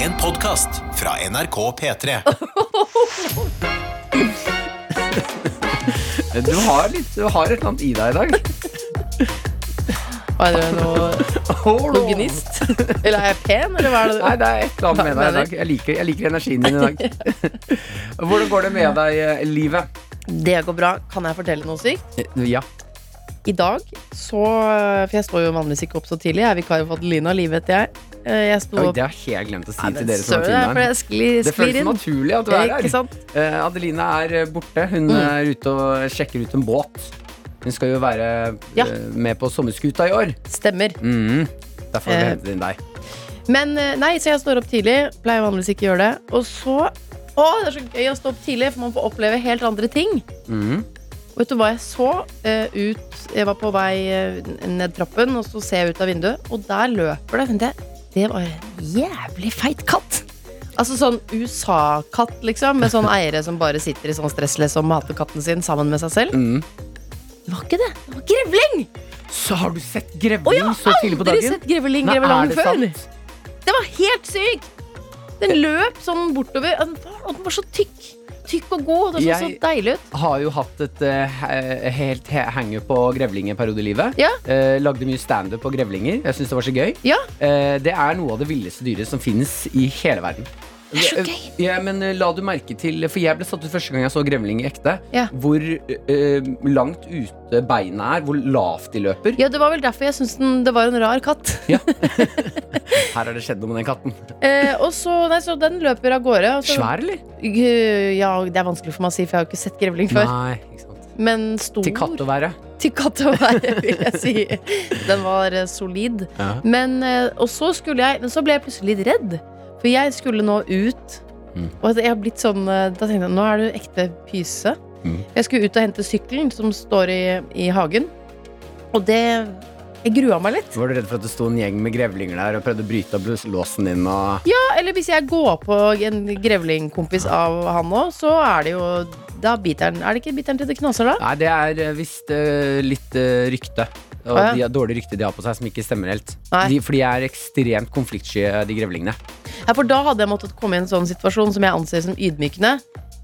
En podkast fra NRK P3. Eh, Du har, litt, du har et eller annet i deg i dag. Var det noe, noe gnist? Eller er jeg pen, eller hva er det? Nei, det er et eller annet med deg i Mener. dag. Jeg liker, jeg liker energien din i dag. Hvordan går det med deg eh, i livet? Det går bra. Kan jeg fortelle noe sykt? Eh, Ja. I dag så eh, For jeg står jo vanligvis ikke opp så tidlig. Jeg er vikar for Adelina. Liv heter jeg. Eh, Jeg sto Oi, opp det har jeg helt glemt å si Nei, til men dere som søren, har det er fordi timen. jeg sklir, Det sklir føles inn. naturlig at du er Ikke her. sant? Eh, Adelina er eh, borte. Hun Mm. er ute og sjekker ut en båt. Hun skal jo være Ja. eh, med på sommerskuta i år. Stemmer. Mhm. Derfor har vi Eh. hentet inn deg. Men eh, nei, så jeg står opp tidlig. Pleier vanligvis ikke å gjøre det. Og så Å, det er så gøy å stå opp tidlig, for man får oppleve helt andre ting. Mhm. Vet du hva jeg så eh, ut Jeg var på vei eh, ned trappen, og så ser jeg ut av vinduet, og der løper det. Tenkte jeg, det var en jævlig feit katt. Altså sånn USA-katt, liksom, med sånn eiere som bare sitter i sånn stressless og mater katten sin sammen med seg selv. Mhm. Det var ikke det. Det var grevling! Så har du sett Og grevling jeg så har tidlig på aldri dagen? sett grevling Nei, er grevelang det før. sant? Det var helt sykt! Den løp sånn bortover, og den var- og den var så tykk. Tykk og god, og den så Jeg- så deilig ut. har jo hatt et eh, he- helt he- hangup på grevling en periode i livet. Ja. Eh, lagde mye standup på grevlinger. Jeg syns det var så gøy. Ja. Eh, det er noe av det villeste dyret som finnes i hele verden. Det er så gøy. Eh, Ja, men eh, la du merke til For jeg ble satt ut første gang jeg så grevling i ekte. Ja. Hvor eh, langt ute beina er, hvor lavt de løper. Ja, det var vel derfor jeg syntes den- det var en rar katt. Her har det skjedd noe med den katten. Eh, og så, nei, så den løper av gårde. Og så, Svær, eller? Gø- Ja, det er vanskelig for meg å si, for jeg har jo ikke sett grevling før. Nei. Ikke sant. Men stor. Til katt å være. Til katt å være, vil jeg si. Den var eh, solid. Ja. Men, eh, og så skulle jeg Men så ble jeg plutselig litt redd. For jeg skulle nå ut. Mm. Og jeg har blitt sånn eh, Da tenkte jeg nå er du ekte pyse. Mm. Jeg skulle ut og hente sykkelen som står i, i hagen. Og det Jeg grua meg litt. Var du redd for at det sto en gjeng med grevlinger der og prøvde å bryte opp låsen din? Og... Eller hvis jeg går på en grevlingkompis av han òg, så er det jo Da biter han Er det ikke biteren til det knaser, da? Nei, det er eh, visst eh, litt eh, rykte. Og Å, ja. de har dårlig rykte de har på seg, som ikke stemmer helt. Nei. De, for de er ekstremt konfliktsky, eh, de grevlingene. Ja, for da hadde jeg måttet komme i en sånn situasjon som jeg anser som ydmykende.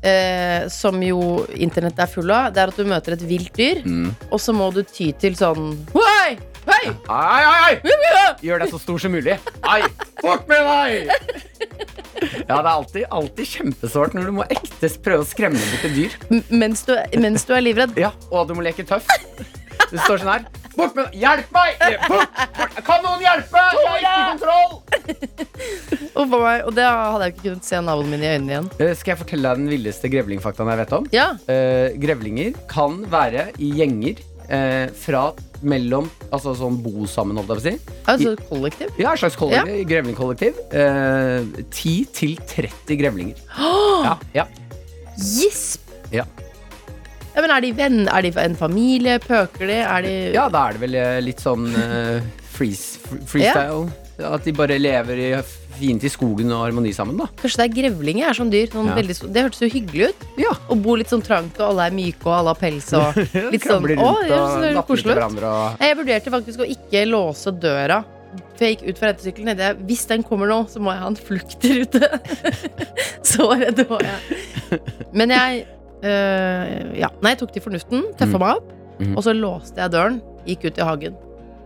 Eh, som jo internett er full av. Det er at du møter et vilt dyr, Mm. og så må du ty til sånn Hei! Hei! Ai, ai, ai! Gjør deg så stor som mulig. Ai, fuck med deg! Ja, det er alltid, alltid kjempesårt når du må ekte prøve å skremme bort et dyr. M- Mens du, mens du er livredd. Ja, Og du må leke tøff. Du står sånn her. Bort med Hjelp meg! Bort, bort. Kan noen hjelpe? Jeg har ikke kontroll! Og, for meg, og det hadde jeg ikke kunnet se navlen min i øynene igjen. Eh, Skal jeg fortelle deg den villeste grevlingfaktaen jeg vet om? Ja, Eh, grevlinger kan være i gjenger eh, fra mellom Altså sånn bo sammen, holdt jeg på å si. altså kollektiv. Ja, et slags kollektiv, grevlingkollektiv. Eh, 10 til 30 grevlinger. Ja, ja. Gisp! Ja. Ja, men er de venn? Er de en familie? Pøker de? Er de ja, da er det vel eh, litt sånn eh, freeze, fr- freestyle. At de bare lever i, fint i skogen og harmoni sammen, da. Kanskje det er grevlinger er sånn dyr. Sånn Ja. veldig, sto- det hørtes jo hyggelig ut. Ja. Å bo litt sånn trangt, og alle er myke, og alle har pels og litt sånn Kravler Å, rundt det høres og så napper til koselig ut. hverandre og Nei, Jeg vurderte faktisk å ikke låse døra. For jeg gikk ut fra rentesykkelen tenkte jeg hvis den kommer nå, så må jeg ha en flukt der ute. så redd var jeg. Men jeg øh, Ja. Nei, jeg tok til fornuften, Mm. tøffa meg opp, Mhm. og så låste jeg døren, gikk ut i hagen.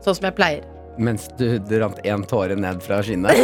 Sånn som jeg pleier, Mens du, det rant én tåre ned fra kinnet.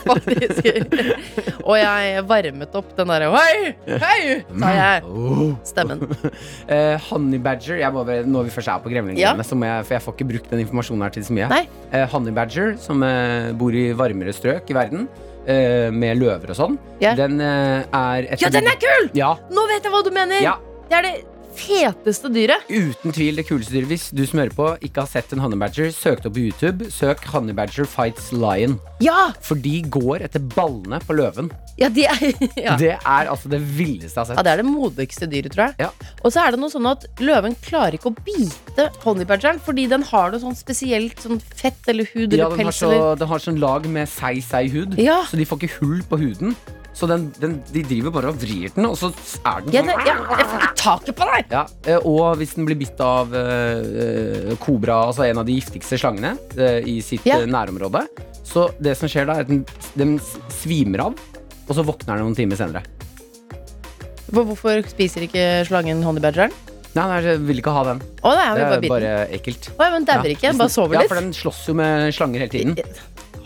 faktisk. sånn. og jeg varmet opp den derre Hei! Hei! sa jeg. Oh. Stemmen. Eh, honey badger jeg må, bare- Når vi først er på grevlinggreiene, Ja. så må jeg, for jeg får ikke brukt den informasjonen her til så mye. Nei. Eh, honey badger, som eh, bor i varmere strøk i verden, eh, med løver og sånn, Ja. den eh, er et Ja, av de- den er kul! Ja, Nå vet jeg hva du mener! ja, Det er det feteste dyret. uten tvil det kuleste dyret. Hvis du som hører på, ikke har sett en honey badger, søk det opp på YouTube. Søk honey badger fights lion. Ja! For de går etter ballene på løven. Ja, de er, ja. Det er altså det villeste jeg har sett. ja, det er det modigste dyret, tror jeg. Ja. Og så er det noe sånn at løven klarer ikke å bite honningbadgeren, fordi den har noe sånn spesielt sånn fett eller hud eller Ja, den har, pels så, eller den har sånn lag med seig, seig hud, Ja. så de får ikke hull på huden. Så den, den, de driver bare og vrir den, og så er den ja, sånn. det, ja, Jeg får ikke taket på deg! Ja, eh, og hvis den blir bitt av eh, eh, kobra, altså en av de giftigste slangene, eh, i sitt Ja. eh, nærområde, så det som skjer da, er at den, den s- svimer av, og så våkner han noen timer senere. Hvor- Hvorfor spiser ikke slangen honeybadgeren? Nei, nei, jeg vil ikke ha den. Å nei, han Det vil er bare bite den. bare ekkelt. Å, ja, men dauer Ja. ikke, bare sover Ja, litt. for den slåss jo med slanger hele tiden.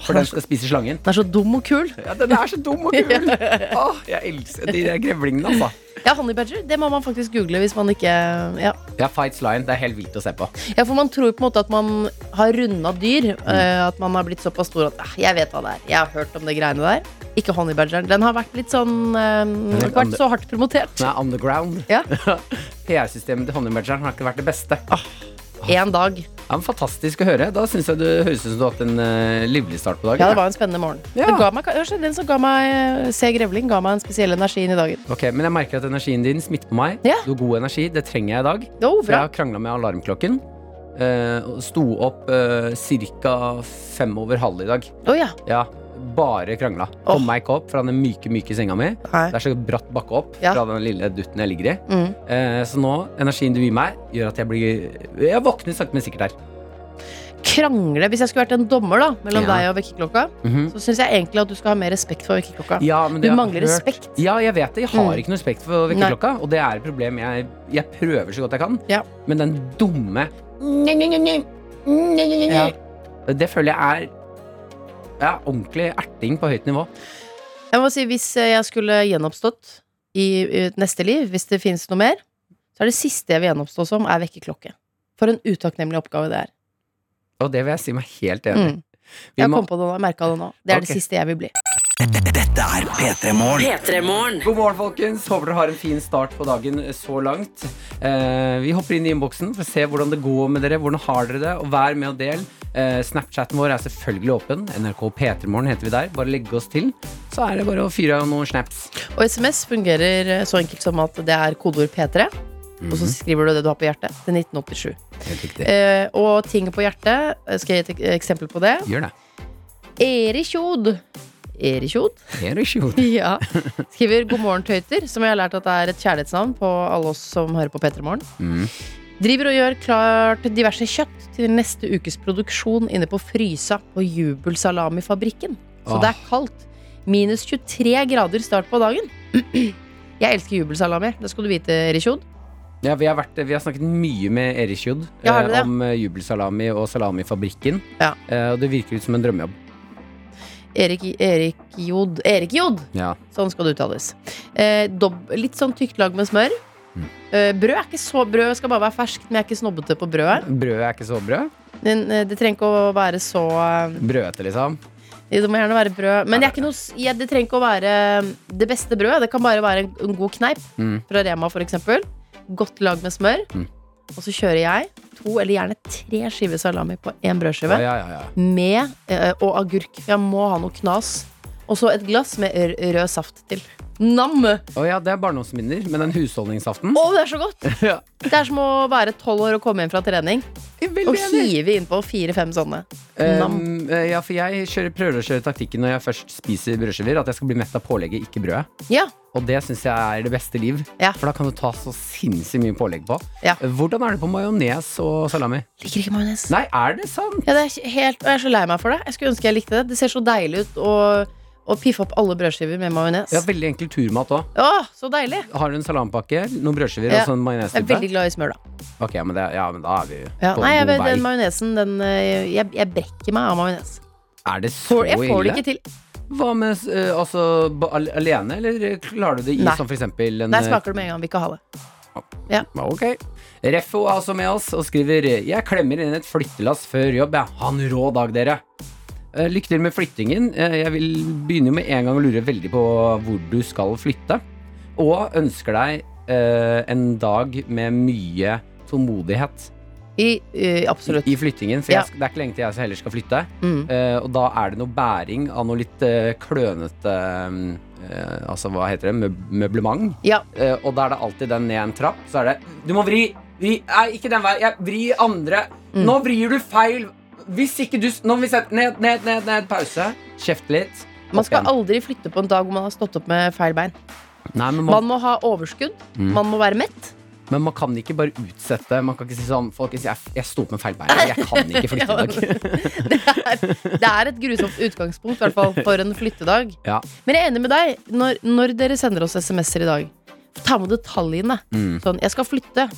For den Han er, så, skal spise slangen. han er så dum og kul. Ja, den er så dum og kul! Åh, jeg elsker de der grevlingene, altså. Ja, honeybadger, det må man faktisk google hvis man ikke ja. Ja, Fights Lion. Det er helt vilt å se på. ja, for man tror på en måte at man har runda dyr. Mm. eh, At man har blitt såpass stor at ah, jeg vet hva det er. Jeg har hørt om det greiene der. Ikke honeybadgeren. Den har vært litt sånn eh, er Ikke vært andre- så hardt promotert. Den er underground. Ja, PR-systemet til honningbadgeren har ikke vært det beste. Én dag. Ja, men fantastisk å høre. Da syns jeg du høres ut som du har hatt en eh, livlig start på dagen. Ja, det var en spennende morgen. Ja. Det ga meg, jeg skjønner, den som ga meg eh, Se grevling, ga meg en spesiell energi inn i dagen. Ok, Men jeg merker at energien din smitter på meg. Ja. Du har god energi. Det trenger jeg i dag. Det For var jeg bra. har krangla med alarmklokken. eh, og sto opp uh, ca. fem over halv i dag. Å ja. Ja, bare krangla. Åh. Kom meg ikke opp fra den myke, myke senga mi. Det Nei. er så bratt bakke opp Ja. fra den lille dutten jeg ligger i. Mm. Eh, så nå, energien du gir meg, gjør at jeg blir Jeg våkner sakte, men sikkert her. Krangle. Hvis jeg skulle vært en dommer da mellom Ja. deg og vekkerklokka, Mhm. så syns jeg egentlig at du skal ha mer respekt for vekkerklokka. ja, men Du det har jeg mangler hørt. respekt. Ja, jeg vet det. Jeg har Mm. ikke noe respekt for vekkerklokka, og det er et problem jeg, jeg prøver så godt jeg kan. Ja. Men den dumme Ja. Det føler jeg er ja, ordentlig erting på høyt nivå. Jeg må si, Hvis eh, jeg skulle gjenoppstått i eh, neste liv, hvis det finnes noe mer, så er det siste jeg vil gjennomstå som, er vekkerklokke. For en utakknemlig oppgave det er. Og det vil jeg si meg helt enig i. Mm. Vi Jeg må- kom på det nå, jeg merket det nå. Det er Ok. det siste jeg vil bli. P3-morgen. God morgen, folkens. Håper dere har en fin start på dagen så langt. Eh, vi hopper inn i innboksen for å se hvordan det går med dere. Hvordan har dere det? Og vær med og del. Eh, Snapchaten vår er selvfølgelig åpen. NRK P3morgen heter vi der. Bare legge oss til, så er det bare å fyre av noen snaps. Og SMS fungerer eh, så enkelt som at det er kodeord P3. Og så Mhm. skriver du det du har på hjertet, til 1987. Helt riktig. Eh, og ting på hjertet, eh, skal jeg gi et ek- eksempel på det? Gjør det. Erikjod. Erikjod? Det er jo ikke vondt. Ja. Skriver 'God morgen, tøyter', som jeg har lært at det er et kjærlighetsnavn på alle oss som hører på P3 Morgen. Mm. Driver og gjør klart diverse kjøtt til neste ukes produksjon inne på frysa på Jubelsalamifabrikken. Så Åh. det er kaldt. Minus 23 grader start på dagen. Jeg elsker jubelsalami. Det skal du vite, Rishod. Ja, vi, har vært, vi har snakket mye med Erik Kjod Ja, har vi det? om eh, jubelsalami og salamifabrikken. Ja. Eh, og det virker ut som en drømmejobb. Erik, Erik Jod. Erik Jod! Ja. Sånn skal det uttales. Eh, dob litt sånn tykt lag med smør. Eh, brød er ikke så brød skal bare være ferskt, men jeg er ikke snobbete på brødet. Brødet er ikke så brød. Men, eh, det trenger ikke å være så eh, Brødete, liksom. Det må gjerne være brød. Men det, er ikke noe, s- ja, det trenger ikke å være eh, det beste brødet. Det kan bare være en, en god kneip Mm. fra Rema, for eksempel. Godt lag med smør. Mm. Og så kjører jeg to, eller gjerne tre skiver salami på én Ja, brødskive. ja, ja, ja. Med eh, og agurk. Jeg må ha noe knas. Og så et glass med r rød saft til. Nam! Å, Å ja, det er barndomsminner, men den husholdningsaften det er så godt! Ja. Det er som å være tolv år og komme hjem fra trening og hive innpå fire-fem sånne. Um, eh, ja, for jeg kjører, prøver å kjøre taktikken når jeg først spiser brødskiver, at jeg skal bli mett av pålegget, ikke brødet. Ja. Og det syns jeg er det beste liv, Ja. for da kan du ta så sinnssykt mye pålegg på. Eh, Ja. Hvordan er det på majones og salami? Liker ikke majones. Nei, er det sant? Ja, det er ikke helt, og jeg er så lei meg for det. Jeg skulle ønske jeg likte det. Det ser så deilig ut å, å piffe opp alle brødskiver med majones. Ja, veldig enkel turmat òg. Å, så deilig! Har du en salamipakke, noen brødskiver Ja. og sånn Jeg er veldig majones? glad i smør, da. Ok, men det, ja, men da er vi Ja. på Nei, jeg, god vei. den majonesen, den eh, Jeg, jeg brekker meg av majones. Er det så Får- Jeg får det ille? ikke til. Hva med eh, altså, ba- al- alene, eller klarer du det i Nei. som for eksempel en Der eh, smaker det med en gang. Vil ikke ha det. Ok. Refo er også med oss og skriver Jeg klemmer inn et flyttelass før jobb. Jeg. Ha en rå dag, dere. Eh, Lykke til med flyttingen. Eh, Jeg vil begynne med en gang å lure veldig på hvor du skal flytte. Og ønsker deg eh, en dag med mye tålmodighet I, eh, i, absolutt. i flyttingen. For Ja. jeg, sk- det er ikke lenge til jeg så heller skal flytte. Mm. Eh, og da er det noe bæring av noe litt eh, klønete eh, Altså, hva heter det? Møb møblement. Ja. Eh, og da er det alltid den ned en trapp. Så er det Du må vri! vri nei, ikke den veien. Jeg- Vri andre. Mm. Nå vrir du feil! Hvis ikke du s- Nå må vi sette ned, ned, ned, ned. Pause. Kjeft litt. Man skal Opp igjen. aldri flytte på en dag hvor man har stått opp med feil bein. Nei, men man, Man må ha overskudd. Mm. Man må være mett. Men man kan ikke bare utsette. Man kan ikke si sånn Folkens, jeg, jeg sto opp med feil bein. Jeg kan ikke flytte i dag. Det er, det er et grusomt utgangspunkt, i hvert fall for en flyttedag. Ja. Men jeg er enig med deg. Når, når dere sender oss SMS-er i dag, ta med detaljene. Mm. Sånn, jeg skal flytte.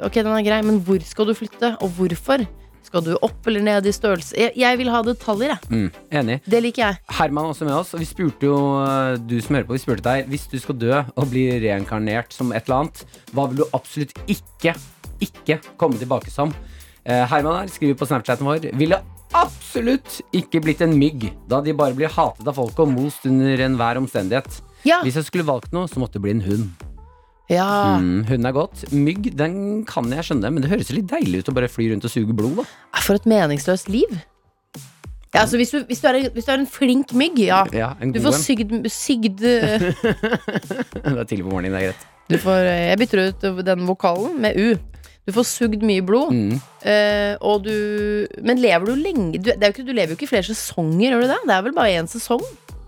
Ok, den er grei, men hvor skal du flytte, og hvorfor? Skal du opp eller ned i størrelse? Jeg, jeg vil ha detaljer, jeg. Mm. Enig. Det liker jeg. Herman er også med oss, og vi spurte jo eh, du som hører på, vi spurte deg hvis du skal dø og bli reinkarnert som et eller annet, hva vil du absolutt ikke, ikke komme tilbake som? Eh, Herman her skriver på Snapchaten vår ville absolutt ikke blitt en mygg, da de bare blir hatet av folk og most under enhver omstendighet. Ja. Hvis jeg skulle valgt noe, så måtte det bli en hund. ja. Mm, hund er godt. Mygg den kan jeg skjønne, men det høres litt deilig ut å bare fly rundt og suge blod. da For et meningsløst liv. Ja, altså, hvis, du, hvis, du er, en- hvis du er en flink mygg, ja. Ja, en Du god får en. sygd, sygd eh, Det er tidlig på morgenen, det er greit. du får, eh, Jeg bytter ut den vokalen med U. Du får sugd mye blod. Mm. eh, og du, men lever du lenge du, det er jo ikke, du lever jo ikke i flere sesonger, gjør du det? Det er vel bare én sesong?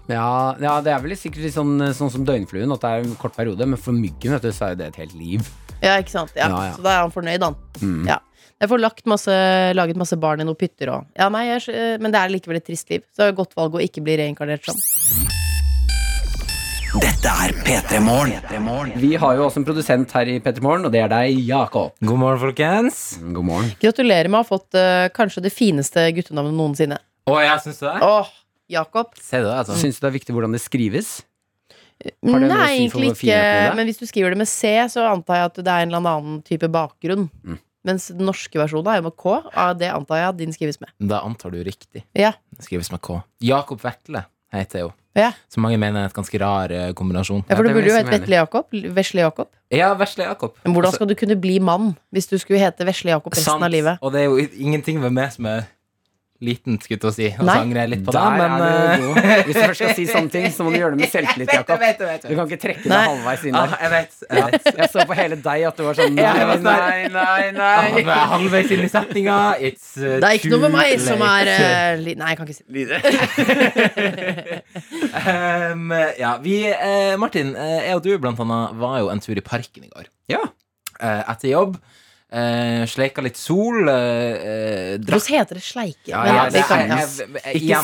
Ja, ja, det er vel sikkert litt sånn, sånn som døgnfluen, at det er en kort periode. Men for myggen vet du, så er jo det et helt liv. Ja, ikke sant? Ja. Ja, ja. Så da er han fornøyd, han. Mm. Ja. Jeg får lagt masse, laget masse barn i noen pytter òg. Ja, nei, jeg, skj- eh, men det er likevel et trist liv. Så det er et godt valg å ikke bli reinkarnert sånn. som. Dette er P3 Morgen. Vi har jo også en produsent her i Pettermorgen, og det er deg, Jakob. God morgen, folkens. Mm, God morgen. Gratulerer med å ha fått eh, kanskje det fineste guttenavnet noensinne. Å, jeg syns det. er. Åh, Jakob? Se det, altså. Syns du det er viktig hvordan det skrives? Nei, Har det noe å si for egentlig hvor fin ikke. jeg tror det er? Men hvis du skriver det med C, så antar jeg at det er en eller annen type bakgrunn. Mm. Mens den norske versjonen er jo med K. og Det antar jeg at din skrives med. Da antar du riktig. Ja. Det Skrives med K. Jakob Vetle heter jeg jo. Ja. Som mange mener er et ganske rar eh, kombinasjon. Ja, Ja, for du det vil burde jo jeg si hete meg enig. Vesle Jakob. Vesle Jakob. Ja, vesle Jakob. Men Altså- hvordan skal du kunne bli mann hvis du skulle hete Vesle Jakob resten Sant. av livet? Og det er jo i- ingenting ved meg som er liten, skulle jeg til å si. Og så Nei. angrer jeg litt på Der det, men er eh, du god. Hvis du først skal si sånne ting, så må du gjøre det med selvtillit, Jeg Jakob. vet, jeg vet, Du jeg vet. kan ikke trekke deg Nei. halvveis inn Ah, der. jeg vet. Jeg vet. Jeg så på hele deg at du var sånn Jeg nei, var sånn- nei, nei, Ah, nei. nå er jeg halvveis inn i setninga. It's eh, Det er ikke too noe med meg som er late. eh, li- Nei, jeg kan ikke si det. Ehm, ja, vi, eh, Martin, eh, jeg og du blant annet var jo en tur i parken i går. Ja. Eh, etter jobb. Eh, sleika litt sol. Eh, eh, drakk Hvordan heter det sleike? Ja, Men ja, vi det kan- er- ja. Ikke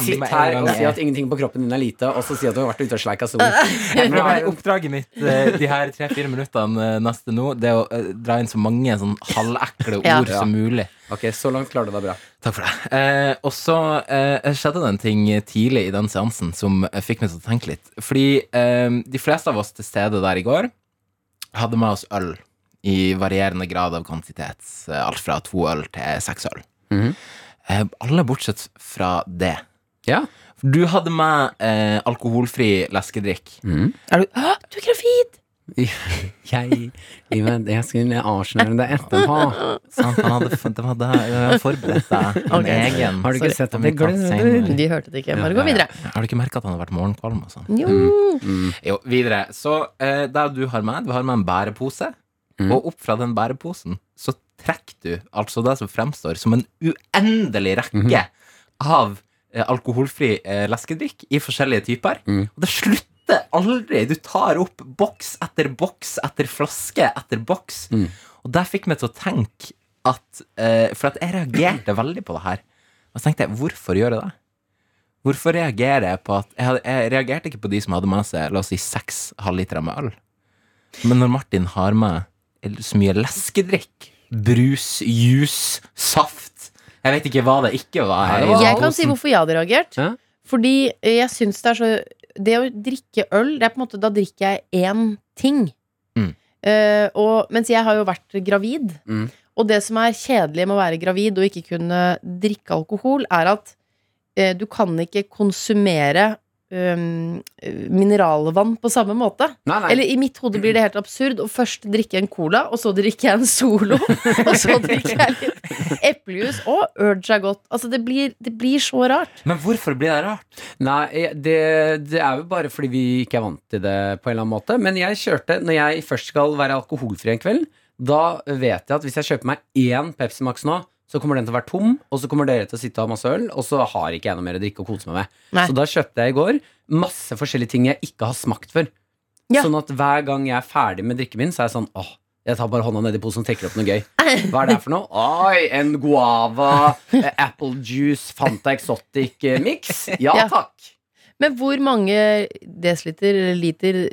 sitt her og si at ingenting på kroppen din er lite, og så si at du har vært ute og sleika sol. Jeg Nå prøver er å Oppdraget mitt eh, de her tre-fire minuttene eh, neste nå, det er å eh, dra inn så mange sånn halvekle ord Ja. som mulig. Ok, Så langt klarer du deg bra. Takk for det. Eh, og så eh, skjedde det en ting tidlig i den seansen som eh, fikk meg til å tenke litt. Fordi eh, de fleste av oss til stede der i går hadde med oss øl i varierende grad av kvantitet. Eh, Alt fra to øl til seks øl. Mhm. eh, alle bortsett fra det. Ja. Du hadde med eh, alkoholfri leskedrikk. Mm. Er du Å, du er gravid! Jeg Livet, jeg skulle avsløre det etterpå. Sant? Han hadde, de hadde eh, forberedt deg en Ok. egen. Har du ikke Sorry. sett at det gløder? De hørte det ikke. Bare gå videre. Har du ikke merka at han har vært morgenkvalm? og sånn? Mm. Jo. Jo, videre. Så eh, der du har med, du har med en bærepose. Mm. Og opp fra den bæreposen så trekker du altså det som fremstår som en uendelig rekke av eh, alkoholfri eh, leskedrikk i forskjellige typer. Mm. Og det slutter aldri. Du tar opp boks etter boks etter flaske etter boks. Mm. Og det fikk meg til å tenke at eh, For at jeg reagerte veldig på det her. Og så tenkte jeg, hvorfor gjør jeg det? Hvorfor reagerer jeg på at Jeg, hadde- jeg reagerte ikke på de som hadde med seg La oss si seks halvlitere med øl. Men når Martin har med så mye leskedrikk, brus, juice, saft Jeg vet ikke hva det ikke var. her Nei, det i var- den Jeg kan si posen. hvorfor jeg hadde reagert. Ja. Fordi eh, jeg syns det er så Det å drikke øl, det er på en måte Da drikker jeg én ting. Mm. Eh, og, mens jeg har jo vært gravid. Mm. Og det som er kjedelig med å være gravid og ikke kunne drikke alkohol, er at eh, du kan ikke konsumere um, mineralvann på samme måte. Nei, nei. Eller i mitt hode blir det helt absurd å først drikke en cola, og så drikker jeg en Solo, og så drikker jeg litt eplejus og Urge er godt. Altså, det blir, det blir så rart. Men hvorfor blir det rart? nei det, det er jo bare fordi vi ikke er vant til det på en eller annen måte. Men jeg kjørte Når jeg først skal være alkoholfri en kveld, da vet jeg at hvis jeg kjøper meg én Pepsi Max nå, så kommer den til å være tom, og så kommer dere til å sitte og ha masse øl, og så har ikke jeg noe mer å drikke og kose meg med. Nei. Så da kjøpte jeg i går masse forskjellige ting jeg ikke har smakt før. Ja. Sånn at hver gang jeg er ferdig med drikken min, så er jeg sånn åh, jeg Jeg tar bare hånda ned i posen og trekker opp noe gøy. Hva er det her for noe? Oi, en guava, eh, apple juice, Fanta Exotic eh, mix. Ja Ja. takk. Men hvor mange desiliter, liter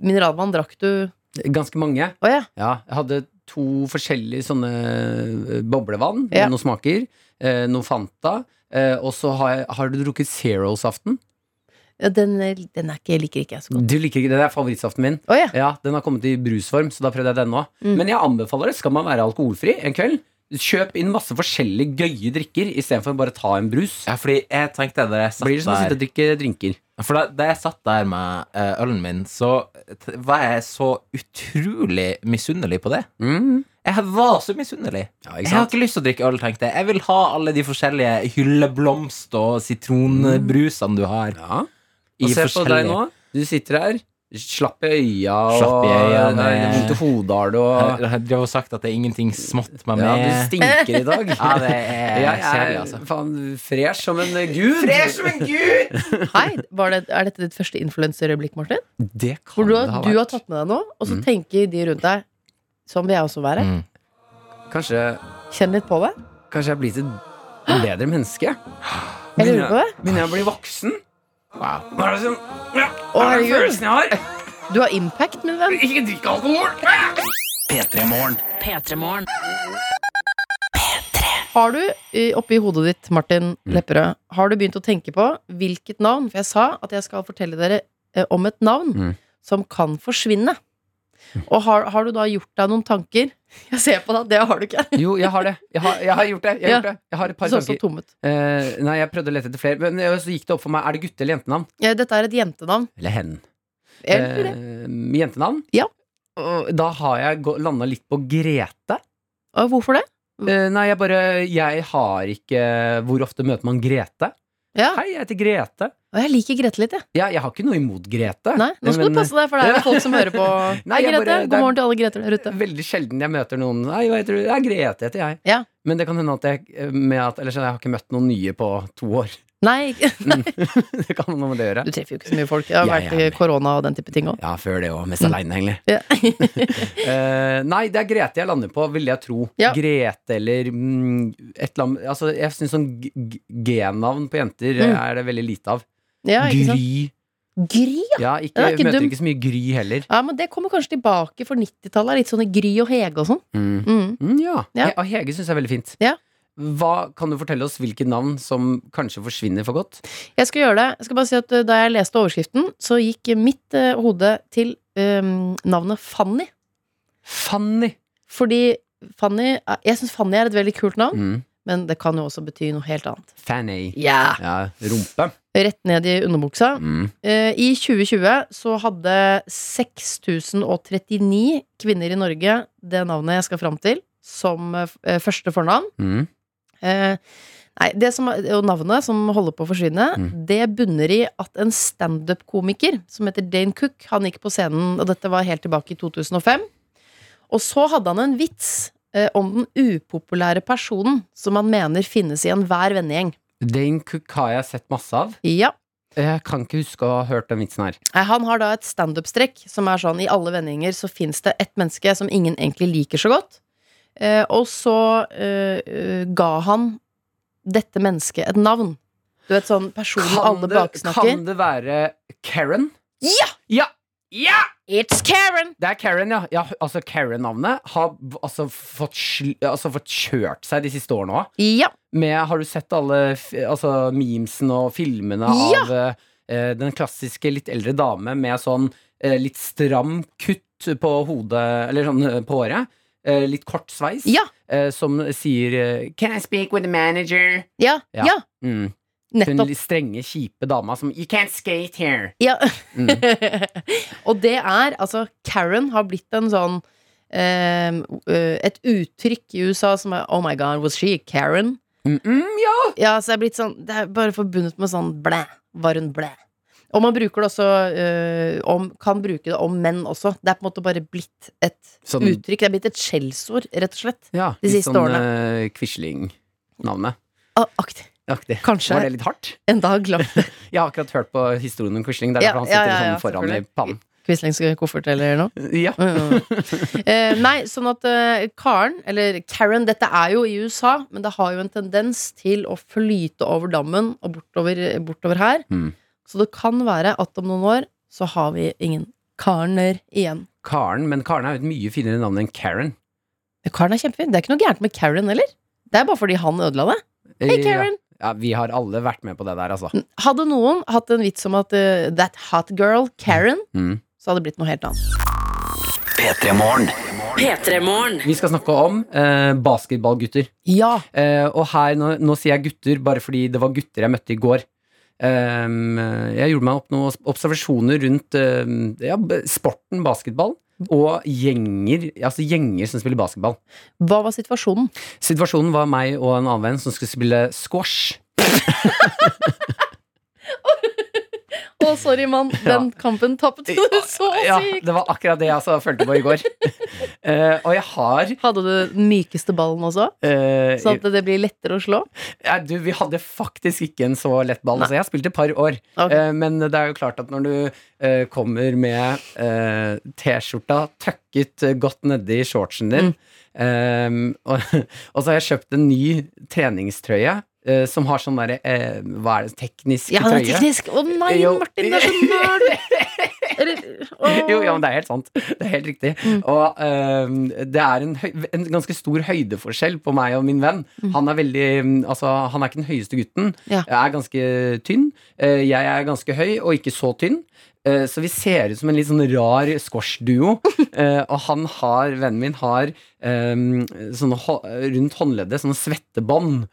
mineralvann drakk du? Ganske mange. Å ja. Ja, jeg hadde to forskjellige sånne eh, boblevann Ja. med noen smaker. Eh, noe Fanta. Eh, og så har, jeg, har du drukket Zero-saften. Ja, Den, er- den er ikke, liker ikke jeg så godt. Du liker ikke det, det er favorittsaften min. Å ja. Ja, Den har kommet i brusform, så da prøvde jeg den òg. Mm. Men jeg anbefaler det. Skal man være alkoholfri en kveld, kjøp inn masse forskjellige gøye drikker istedenfor bare ta en brus. Ja, fordi jeg tenkte da jeg Det satt blir det sånn som å der sitte og drikke drinker. For da, da jeg satt der med eh, ølen min, så t- var jeg så utrolig misunnelig på det. Mm. Jeg var så misunnelig. Ja, Jeg ikke har sant? ikke lyst til å drikke øl, tenkte jeg. Jeg vil ha alle de forskjellige hylleblomst- og sitronbrusene du har. Ja. I Og se på forskjellige- deg nå. Du sitter her. Slapp i øya Slapp og i øya, det- vondt i hodet har du og Jeg jeg drev og sagt at det er ingenting smått med ja, meg. Du stinker i dag. Ja, det er Jeg er kjedelig, altså. faen fresh som en gud. som en gud! Hei, var det, er dette ditt første influenserøyeblikk, Martin? Det kan Hvor du, har- det ha du har vært. tatt med deg noe, og så tenker de rundt deg Sånn vil jeg også være. Mm. Kanskje, Kjenn litt på det. kanskje jeg blir til et bedre menneske? Jeg lurer på det. Begynner jeg å bli voksen? Wow. Hva er det som ja, Å, Hva er den herregud. følelsen jeg har? Du har impact, min venn. Ikke drikk alkohol! P3-morgen. P3morgen. Har du eh, oppi hodet ditt, Martin Mm. Lepperød, har du begynt å tenke på hvilket navn? For jeg sa at jeg skal fortelle dere eh, om et navn Mm. som kan forsvinne. Og har, har du da gjort deg noen tanker? Jeg ser på deg, at det har du ikke. Jo, jeg har det. Jeg har, jeg har gjort det. Jeg har, Ja. gjort det. Jeg har et Du par så så tanker. tom ut. Eh, nei, jeg prøvde å lete etter flere, men eh, så gikk det opp for meg. Er det gutte- eller jentenavn? Ja, Eh, dette er et jentenavn. Eller hen. Eller det. Eh, jentenavn? Ja. Og Da har jeg gå- landa litt på Grete. Og hvorfor det? Eh, nei, jeg bare Jeg har ikke Hvor ofte møter man Grete? Ja. Hei, jeg heter Grete. Og jeg liker Grete litt, jeg. Ja, jeg har ikke noe imot Grete. Nei, nå skal Men, du passe deg, for det er ja. jo folk som hører på. Nei, Hei, jeg Grete. bare- det er- God morgen til alle Greter der ute. eh, Veldig sjelden jeg møter noen Nei, hva heter du? Ja, Grete heter jeg. Ja. Men det kan hende at jeg med at, Eller sånn, jeg har ikke møtt noen nye på to år. Nei, det kan ha noe med det å gjøre. du treffer jo ikke så mye folk. Det har Jeg vært er med. korona og den type ting òg. Ja, før det òg. Mest Mm. aleine, egentlig. Ja. Eh, nei, det er Grete jeg lander på, vil jeg tro. Ja. Grete eller mm, et eller annet Altså, jeg syns sånn g- g- g-navn på jenter eh, Mm. er det veldig lite av. ja, ikke sant? Gry. Gry, Ja, ikke, Ja, det er ikke møter dumt. ikke så mye Gry heller. Ja, men det kommer kanskje tilbake for 90-tallet. er Litt sånne Gry og Hege og sånn. Mm. Mm. ja. Ja. He- og Hege syns jeg er veldig fint. Ja. Hva, kan du fortelle oss hvilke navn som kanskje forsvinner for godt? Jeg skal gjøre det. Jeg skal bare si at eh, Da jeg leste overskriften, så gikk mitt eh, hode til eh, navnet Fanny. Fanny. Fordi Fanny er- Jeg syns Fanny er et veldig kult navn, Mm. men det kan jo også bety noe helt annet. Fanny. Ja Ja, rumpe. Rett ned i underbuksa. Mm. Eh, I 2020 så hadde 6039 kvinner i Norge det navnet jeg skal fram til, som eh, f- eh, første fornavn. Mm. Eh, nei, det som, er- og navnet som holder på å forsvinne, Mm. det bunner i at en standup-komiker som heter Dane Cook, han gikk på scenen, og dette var helt tilbake i 2005. Og så hadde han en vits eh, om den upopulære personen som han mener finnes i enhver vennegjeng. Dane Cook har jeg sett masse av. Ja. Jeg kan ikke huske å ha hørt den vitsen her. Nei, Han har da et standup-strekk som er sånn i alle vendingener så fins det ett menneske som ingen egentlig liker så godt. Eh, og så eh, eh, ga han dette mennesket et navn. Du vet sånn personen alle baksnakker. kan det være Karen? Ja! Ja! Ja! It's Karen! Det er Karen, ja. ja altså Karen-navnet har b- altså fått, sl- altså fått kjørt seg de siste årene òg. Ja. Med Har du sett alle f altså, memesene og filmene Ja! av eh, eh, den klassiske litt eldre dame med sånn eh, litt stram kutt på hodet Eller sånn eh, på håret. Eh, litt kort sveis. Ja. Eh, som sier eh, Can I speak with the manager? Ja. Ja. Ja. Mm. Hun Nettopp. litt strenge, kjipe dama som You can't skate here. Ja. Mm. og det er altså Karen har blitt en sånn eh, eh, Et uttrykk i USA som er Oh my God, was she a Karen? Mm, mm, ja. Ja, så jeg er blitt sånn Det er bare forbundet med sånn blæ. Var hun blæ? Og man bruker det også øh, om, Kan bruke det om menn også. Det er på en måte bare blitt et Sånn- uttrykk. Det er blitt et skjellsord, rett og slett. ja De siste årene. Quisling-navnet. Ah, aktig. Aktig. Kanskje Var det litt hardt? en dag glemt det. Jeg har akkurat hørt på historien om Quisling. Det er Ja, derfor han ja, sitter ja, ja, sånn foran i selvfølgelig. pannen. Quislingskoffert eller noe. Ja. Eh, nei, sånn at eh, Karen, eller Karen, dette er jo i USA, men det har jo en tendens til å flyte over dammen og bortover, bortover her. Mm. Så det kan være at om noen år så har vi ingen Karner igjen. Karen, men Karen er jo et mye finere navn enn Karen. Men Karen er kjempefin. Det er ikke noe gærent med Karen heller. Det er bare fordi han ødela det. Hei, Eh, Karen! Ja, vi har alle vært med på det der, altså. Hadde noen hatt en vits om at eh, that hot girl, Karen, Mm. så hadde det blitt noe helt annet. P3 Morgen. P3-morgen. Vi skal snakke om eh, basketballgutter. Ja. Eh, og her, nå, nå sier jeg gutter bare fordi det var gutter jeg møtte i går. Ehm, jeg gjorde meg opp noen observasjoner rundt ehm, ja, b- sporten basketball og gjenger, altså gjenger som spiller basketball. Hva var situasjonen? Situasjonen var meg og en annen venn som skulle spille squash. Å, sorry, mann. Den kampen tapte du så Ja, sykt. det var akkurat det jeg altså følte på i går. Eh, og jeg har Hadde du den mykeste ballen også? eh, Sånn at det blir lettere å slå? ja, du, Vi hadde faktisk ikke en så lett ball. Så jeg har spilt et par år. Ok. Eh, Men det er jo klart at når du eh, kommer med eh, T-skjorta tøkket eh, godt nedi shortsen din Mm. eh, og, og så har jeg kjøpt en ny treningstrøye eh, som har sånn derre eh, Hva er det? Teknisk Ja, det trøye? er teknisk! Å nei, Jo. Martin, du er så nerd! Eller, å. Jo, ja, men det er helt sant. Det er helt riktig. Og eh, det er en, høy, en ganske stor høydeforskjell på meg og min venn. Han er veldig mm, Altså, han er ikke den høyeste gutten. Ja. Jeg er ganske tynn. Eh, jeg er ganske høy, og ikke så tynn. Eh, Så vi ser ut som en litt sånn rar squash-duo. Eh, Og han har, vennen min har eh, sånne hå- rundt håndleddet sånne svettebånd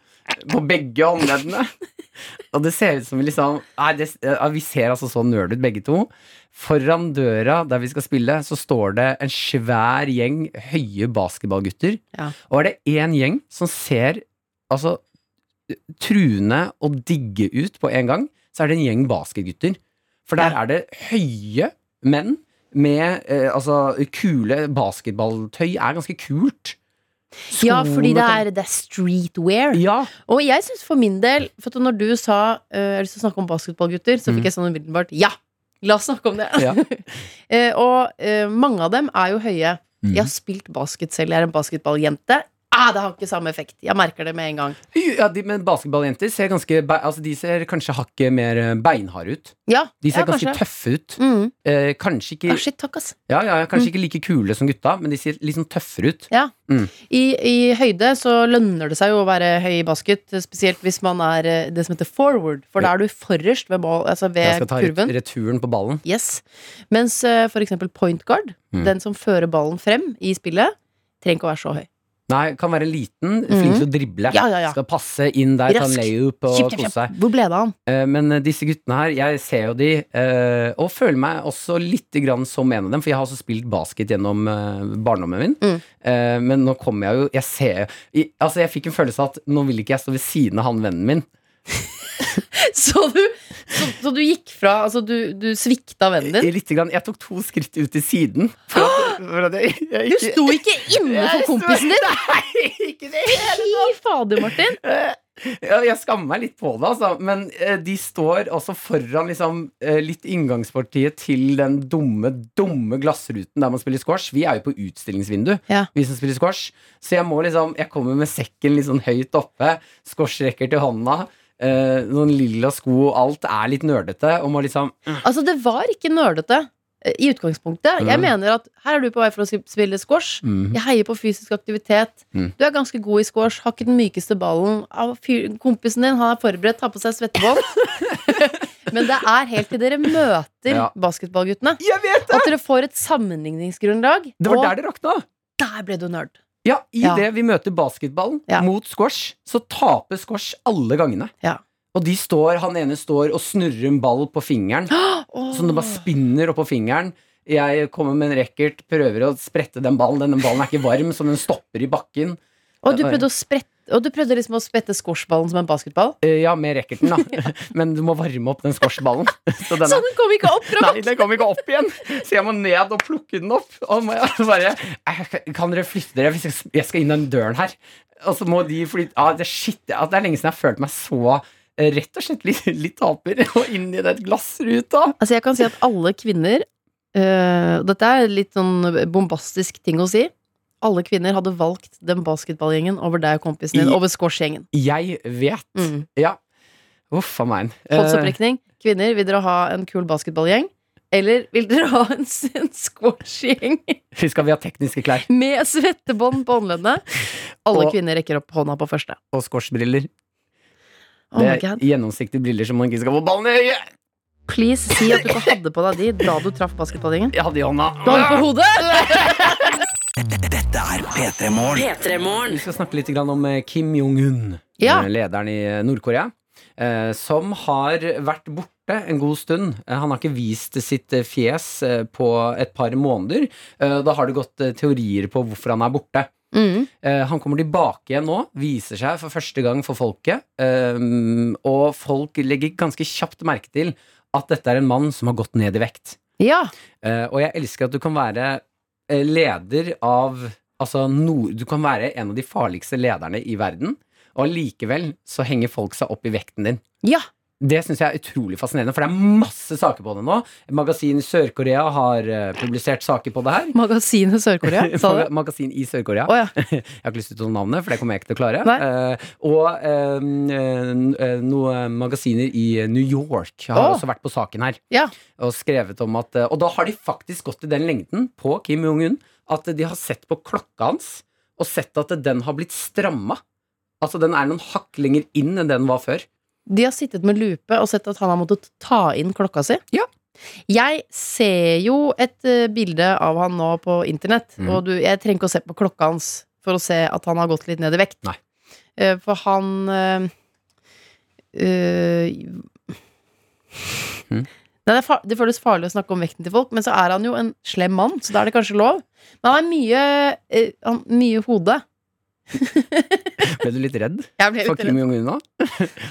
på begge håndleddene. Og det ser ut som vi liksom nei, det, ja, Vi ser altså så nerd ut, begge to. Foran døra der vi skal spille, så står det en svær gjeng høye basketballgutter. Ja. Og er det én gjeng som ser altså truende og digge ut på en gang, så er det en gjeng basketgutter. For der er det høye menn med eh, altså kule Basketballtøy er ganske kult. Ja, fordi det Skoene er, det er streetwear. kan- Ja, Og jeg syns for min del For at når du sa eh, Jeg har lyst til å snakke om basketballgutter, så Mm. fikk jeg sånn umiddelbart ja! La oss snakke om det. Ja. Eh, og eh, mange av dem er jo høye. Mm. Jeg har spilt basket selv, jeg er en basketballjente. Ah, det har ikke samme effekt. Jeg merker det med en gang. Ja, de, men basketballjenter ser ganske be- Altså, de ser kanskje hakket mer eh, beinharde ut. Ja, De ser ja, ganske kanskje. tøffe ut. Mm. Eh, kanskje ikke, Ah, shit, takk, ass. ja, ja, ja, Mm. kanskje ikke like kule som gutta, men de ser litt sånn tøffere ut. I, I høyde så lønner det seg jo å være høy i basket, spesielt hvis man er eh, det som heter forward, for da er du forrest ved, mål, altså Jeg ved skal ta ret- kurven. returen på ballen. Yes. Mens eh, for eksempel point guard, Mm. den som fører ballen frem i spillet, trenger ikke å være så høy. Nei, kan være liten, Mhm. flink til å drible. Ja, ja, ja. Skal passe inn der, ta en Rask. layup og Kjipt, kose kjipt, seg. kjipt. Hvor ble det av han? Eh, Men eh, disse guttene her, jeg ser jo de, eh, og føler meg også litt grann som en av dem, for jeg har også spilt basket gjennom eh, barndommen min. Mm. Eh, Men nå kommer jeg jo Jeg ser i- Altså, jeg fikk en følelse av at nå vil ikke jeg stå ved siden av han vennen min. Så du, så, så du gikk fra Altså, du, du svikta vennen din? Litt grann, jeg tok to skritt ut til siden. For at, for at jeg, jeg Du ikke sto ikke inne for kompisen din! Nei, ikke det. Fy fader, Martin! Ja, jeg skammer meg litt på det, altså. Men eh, de står også foran liksom, eh, litt inngangspartiet til den dumme, dumme glassruten der man spiller squash. Vi er jo på utstillingsvindu, Ja. vi som spiller squash. Så jeg må liksom Jeg kommer med sekken litt sånn høyt oppe, squashrekker til hånda. eh, noen lilla sko og alt er litt nerdete, og må liksom Altså, det var ikke nerdete eh, i utgangspunktet. Jeg Mm. mener at her er du på vei for å spille squash. mm. Jeg heier på fysisk aktivitet. Mm. Du er ganske god i squash, har ikke den mykeste ballen. Ah, fyr- Kompisen din han er forberedt, har på seg svettebånd. Men det er helt til dere møter Ja. basketballguttene. Jeg vet det! At dere får et sammenligningsgrunnlag. Det var og der det rakna. der ble du nerd. Ja, i Ja. det vi møter basketballen Ja. mot squash, så taper squash alle gangene. Ja. Og de står, han ene står og snurrer en ball på fingeren, Åh. sånn det bare spinner oppå fingeren. Jeg kommer med en racket, prøver å sprette den ballen. Denne ballen er ikke varm, så den stopper i bakken. og du prøvde å sprette og du prøvde liksom å spette squashballen som en basketball? Eh, Ja, med racketen, da. Men du må varme opp den squashballen. Så den Så er den kom ikke opp fra Nei, den kom ikke opp igjen, så jeg må ned og plukke den opp. Og må jeg bare «Eh, Kan dere flytte dere? Hvis jeg s- jeg skal inn den døren her. Og så må de flytte ah, det, er shit, ja, det er lenge siden jeg har følt meg så eh, rett og slett litt, litt taper og inn i den glassruta. Altså jeg kan si at alle kvinner eh, Dette er litt sånn bombastisk ting å si. Alle kvinner hadde valgt den basketballgjengen over deg og kompisen din. I- Over squashgjengen. Jeg vet. Mm. Ja. Uff a meg. Eh, Håndsopprekning. Kvinner, vil dere ha en kul basketballgjeng? Eller vil dere ha en, s- en squashgjeng Fy skal vi ha tekniske klær med svettebånd på håndleddene? Alle Og- kvinner rekker opp hånda på første. og squashbriller? Oh my det er god. gjennomsiktige briller som man ikke skal få ballen i øyet! Please si at du ikke hadde på deg de da du traff basketballgjengen. Jeg hadde i hånda. Du har det på hodet! Dette er P3 Morgen. Vi skal snakke litt grann om eh, Kim Jong-un, Ja. eh, lederen i eh, Nord-Korea. eh, Som har vært borte en god stund. Eh, Han har ikke vist sitt eh, fjes eh, på et par måneder. Eh, Da har det gått eh, teorier på hvorfor han er borte. Mm. Eh, Han kommer tilbake igjen nå, viser seg for første gang for folket. eh, Og folk legger ganske kjapt merke til at dette er en mann som har gått ned i vekt. Ja. Eh, og jeg elsker at du kan være eh, leder av Altså, nord, du kan være en av de farligste lederne i verden, og allikevel så henger folk seg opp i vekten din. Ja. Det syns jeg er utrolig fascinerende, for det er masse saker på det nå. Magasin i Sør-Korea har eh, publisert saker på det her. Magasinet Sør-Korea, sa du? Magasin i Sør-Korea. Å ja. Jeg har ikke lyst til å ta navnet, for det kommer jeg ikke til å klare. Nei. Eh, og eh, n- eh, noen magasiner i New York har Å. også vært på saken her. Ja. Og skrevet om at eh, Og da har de faktisk gått i den lengden på Kim Jong-un at de har sett på klokka hans og sett at den har blitt stramma. Altså den er noen hakk lenger inn enn den var før. De har sittet med lupe og sett at han har måttet ta inn klokka si. Ja. Jeg ser jo et eh, bilde av han nå på internett, Mhm. og du, jeg trenger ikke å se på klokka hans for å se at han har gått litt ned i vekt. Nei. Eh, for han eh, eh, Mhm. Nei, det, er fa- det føles farlig å snakke om vekten til folk, men så er han jo en slem mann, så da er det kanskje lov. Men han har mye, eh, han, mye hode. Ble du litt redd Jeg ble for litt Kim Jong-un nå?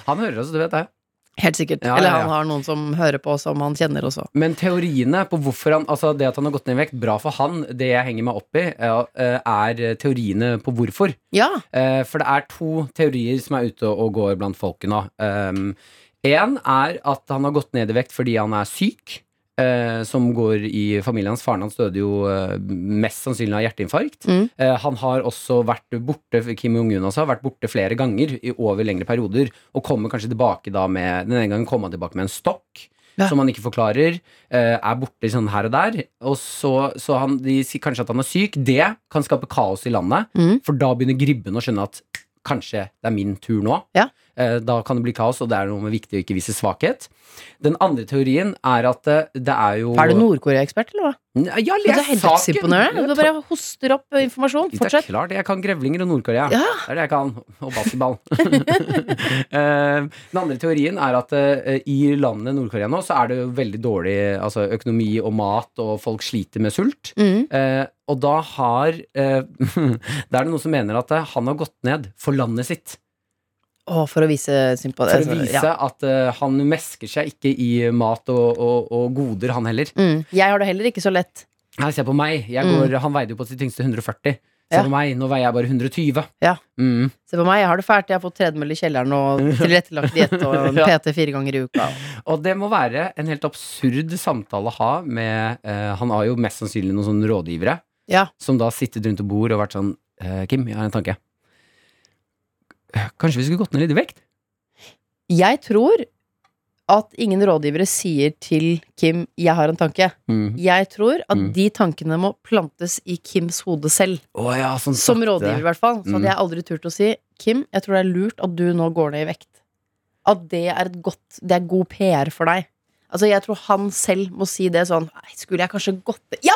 Han hører oss, du vet det. Helt sikkert. Ja, Eller ja, ja. han har noen som hører på, som han kjenner også. Men teoriene på hvorfor han Altså det at han har gått ned i vekt, bra for han, det jeg henger meg opp i, ja, eh, er teoriene på hvorfor. Ja. Eh, For det er to teorier som er ute og går blant folket nå. Én er at han har gått ned i vekt fordi han er syk. eh, som går i familien hans. Faren hans døde jo eh, mest sannsynlig av hjerteinfarkt. Mm. Eh, han har også vært borte Kim Jong-un også, har vært borte flere ganger i over lengre perioder. Og kommer kanskje tilbake da med Den ene gangen kom han tilbake med en stokk. Ja. Som han ikke forklarer. eh, er borte sånn her og der. Og så, så han, de sier kanskje at han er syk. Det kan skape kaos i landet. Mm. For da begynner gribben å skjønne at kanskje det er min tur nå. Ja. Eh, Da kan det bli kaos, og det er noe med viktig å ikke vise svakhet. Den andre teorien er at eh, det er jo Er du Nord-Korea-ekspert, eller hva? Nei, Jeg har Men det er lest helt saken! eksimponerende. Du Jeg bare hoster opp eh, informasjon. Det er Fortsett. klart, jeg kan grevlinger og Nord-Korea. Ja. Det er det jeg kan. Og basketball. Eh, Den andre teorien er at eh, i landet Nord-Korea nå, så er det jo veldig dårlig altså, økonomi og mat, og folk sliter med sult. Mm. Eh, og da har eh, Da er det noen som mener at eh, han har gått ned for landet sitt. Å, for å vise altså, sympati. For å vise at eh, han mesker seg ikke i mat og, og, og goder, han heller. Mm. Jeg har det heller ikke så lett. Nei, se på meg. Jeg går, Han veide jo på sitt tyngste 140. Se Mm. Ja. på meg, nå veier jeg bare 120. Ja. Mm. Se på meg, jeg har det fælt. Jeg har fått tredemølle i kjelleren og tilrettelagt diett og en Ja. PT fire ganger i uka. Og det må være en helt absurd samtale å ha med eh, Han har jo mest sannsynlig noen sånne rådgivere Ja. som da har sittet rundt et bord og vært sånn eh, Kim, jeg har en tanke. Kanskje vi skulle gått ned litt i vekt? Jeg tror at ingen rådgivere sier til Kim 'jeg har en tanke'. Mm. Jeg tror at Mm. de tankene må plantes i Kims hode selv. Å ja, sånn Som sakte. rådgiver, i hvert fall. Så Mm. hadde jeg aldri turt å si Kim, jeg tror det er lurt at du nå går ned i vekt. At det er, et godt, det er god PR for deg. Altså, jeg tror han selv må si det sånn Nei, skulle jeg kanskje gått ned Ja!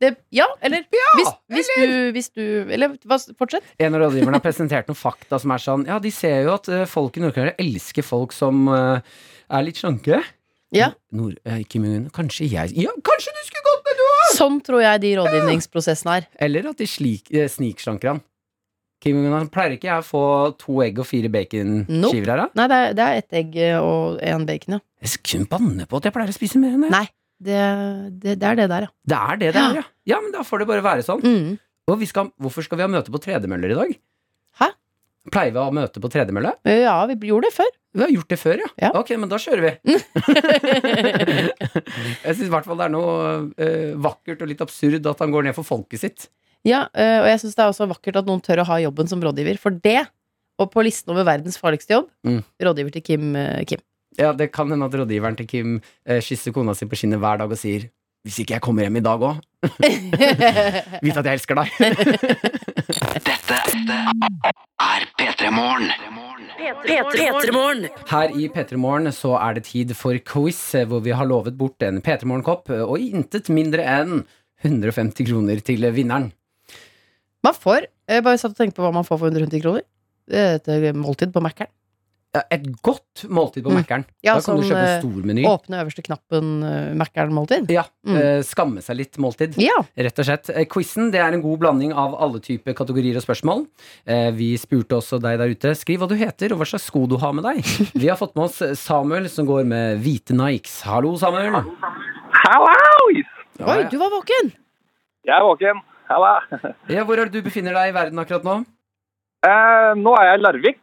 Det, ja, eller hvis, hvis, Du, hvis du Eller hva, fortsett. En av rådgiverne har presentert noen fakta som er sånn Ja, de ser jo at eh, folk i Nord-Korea elsker folk som eh, er litt slanke. Ja. Nord eh, Kim Jong-un, kanskje jeg Ja, kanskje du skulle gått med, du! Sånn tror jeg de rådgivningsprosessene er. Eller at de slik, eh, snikslanker han. Kim Jong-un han pleier ikke jeg å få to egg og fire Nope. baconskiver her, da? Nei, det er, det er ett egg og én bacon, ja. Jeg skal kunne banne på at jeg pleier å spise mer enn det. Nei. Det, det, det er det der, ja. Det er det det er, ja. Ja, men da får det bare være sånn. Mm. Og vi skal, hvorfor skal vi ha møte på tredemøller i dag? Hæ? Pleier vi å ha møte på tredemølle? Ja, vi gjorde det før. Vi har gjort det før, ja. Ja. Ok, men da kjører vi. jeg syns i hvert fall det er noe eh, vakkert og litt absurd at han går ned for folket sitt. Ja, eh, og jeg syns det er også vakkert at noen tør å ha jobben som rådgiver. For det, og på listen over verdens farligste jobb, Mm. rådgiver til Kim. eh, Kim. Ja, Det kan hende at rådgiveren til Kim eh, kysser kona si på kinnet hver dag og sier hvis ikke jeg kommer hjem i dag òg, vit at jeg elsker deg. er P3 Morgen. P3morgen. Her i P3 Morgen så er det tid for quiz, eh, hvor vi har lovet bort en P3 Morgen-kopp eh, og intet mindre enn 150 kroner til eh, vinneren. man får Jeg bare satt og tenkte på hva man får for 150 kroner. Det er Et eh, måltid på Mækkern. Ja, Et godt måltid på Mm. Mækkern. Ja, da kan du sånn, kjøpe eh, stormeny. Åpne øverste knappen eh, Mækkern-måltid. Ja, Mm. eh, skamme seg litt måltid. Ja. Rett og slett. Eh, Quizen det er en god blanding av alle typer kategorier og spørsmål. Eh, Vi spurte også deg der ute. Skriv hva du heter og hva slags sko du har med deg. Vi har fått med oss Samuel, som går med hvite Nikes. Hallo, Samuel. Hallois! Oi, du var våken! Jeg er våken. Halla. Ja, hvor er det du befinner deg i verden akkurat nå? Eh, nå er jeg i Larvik.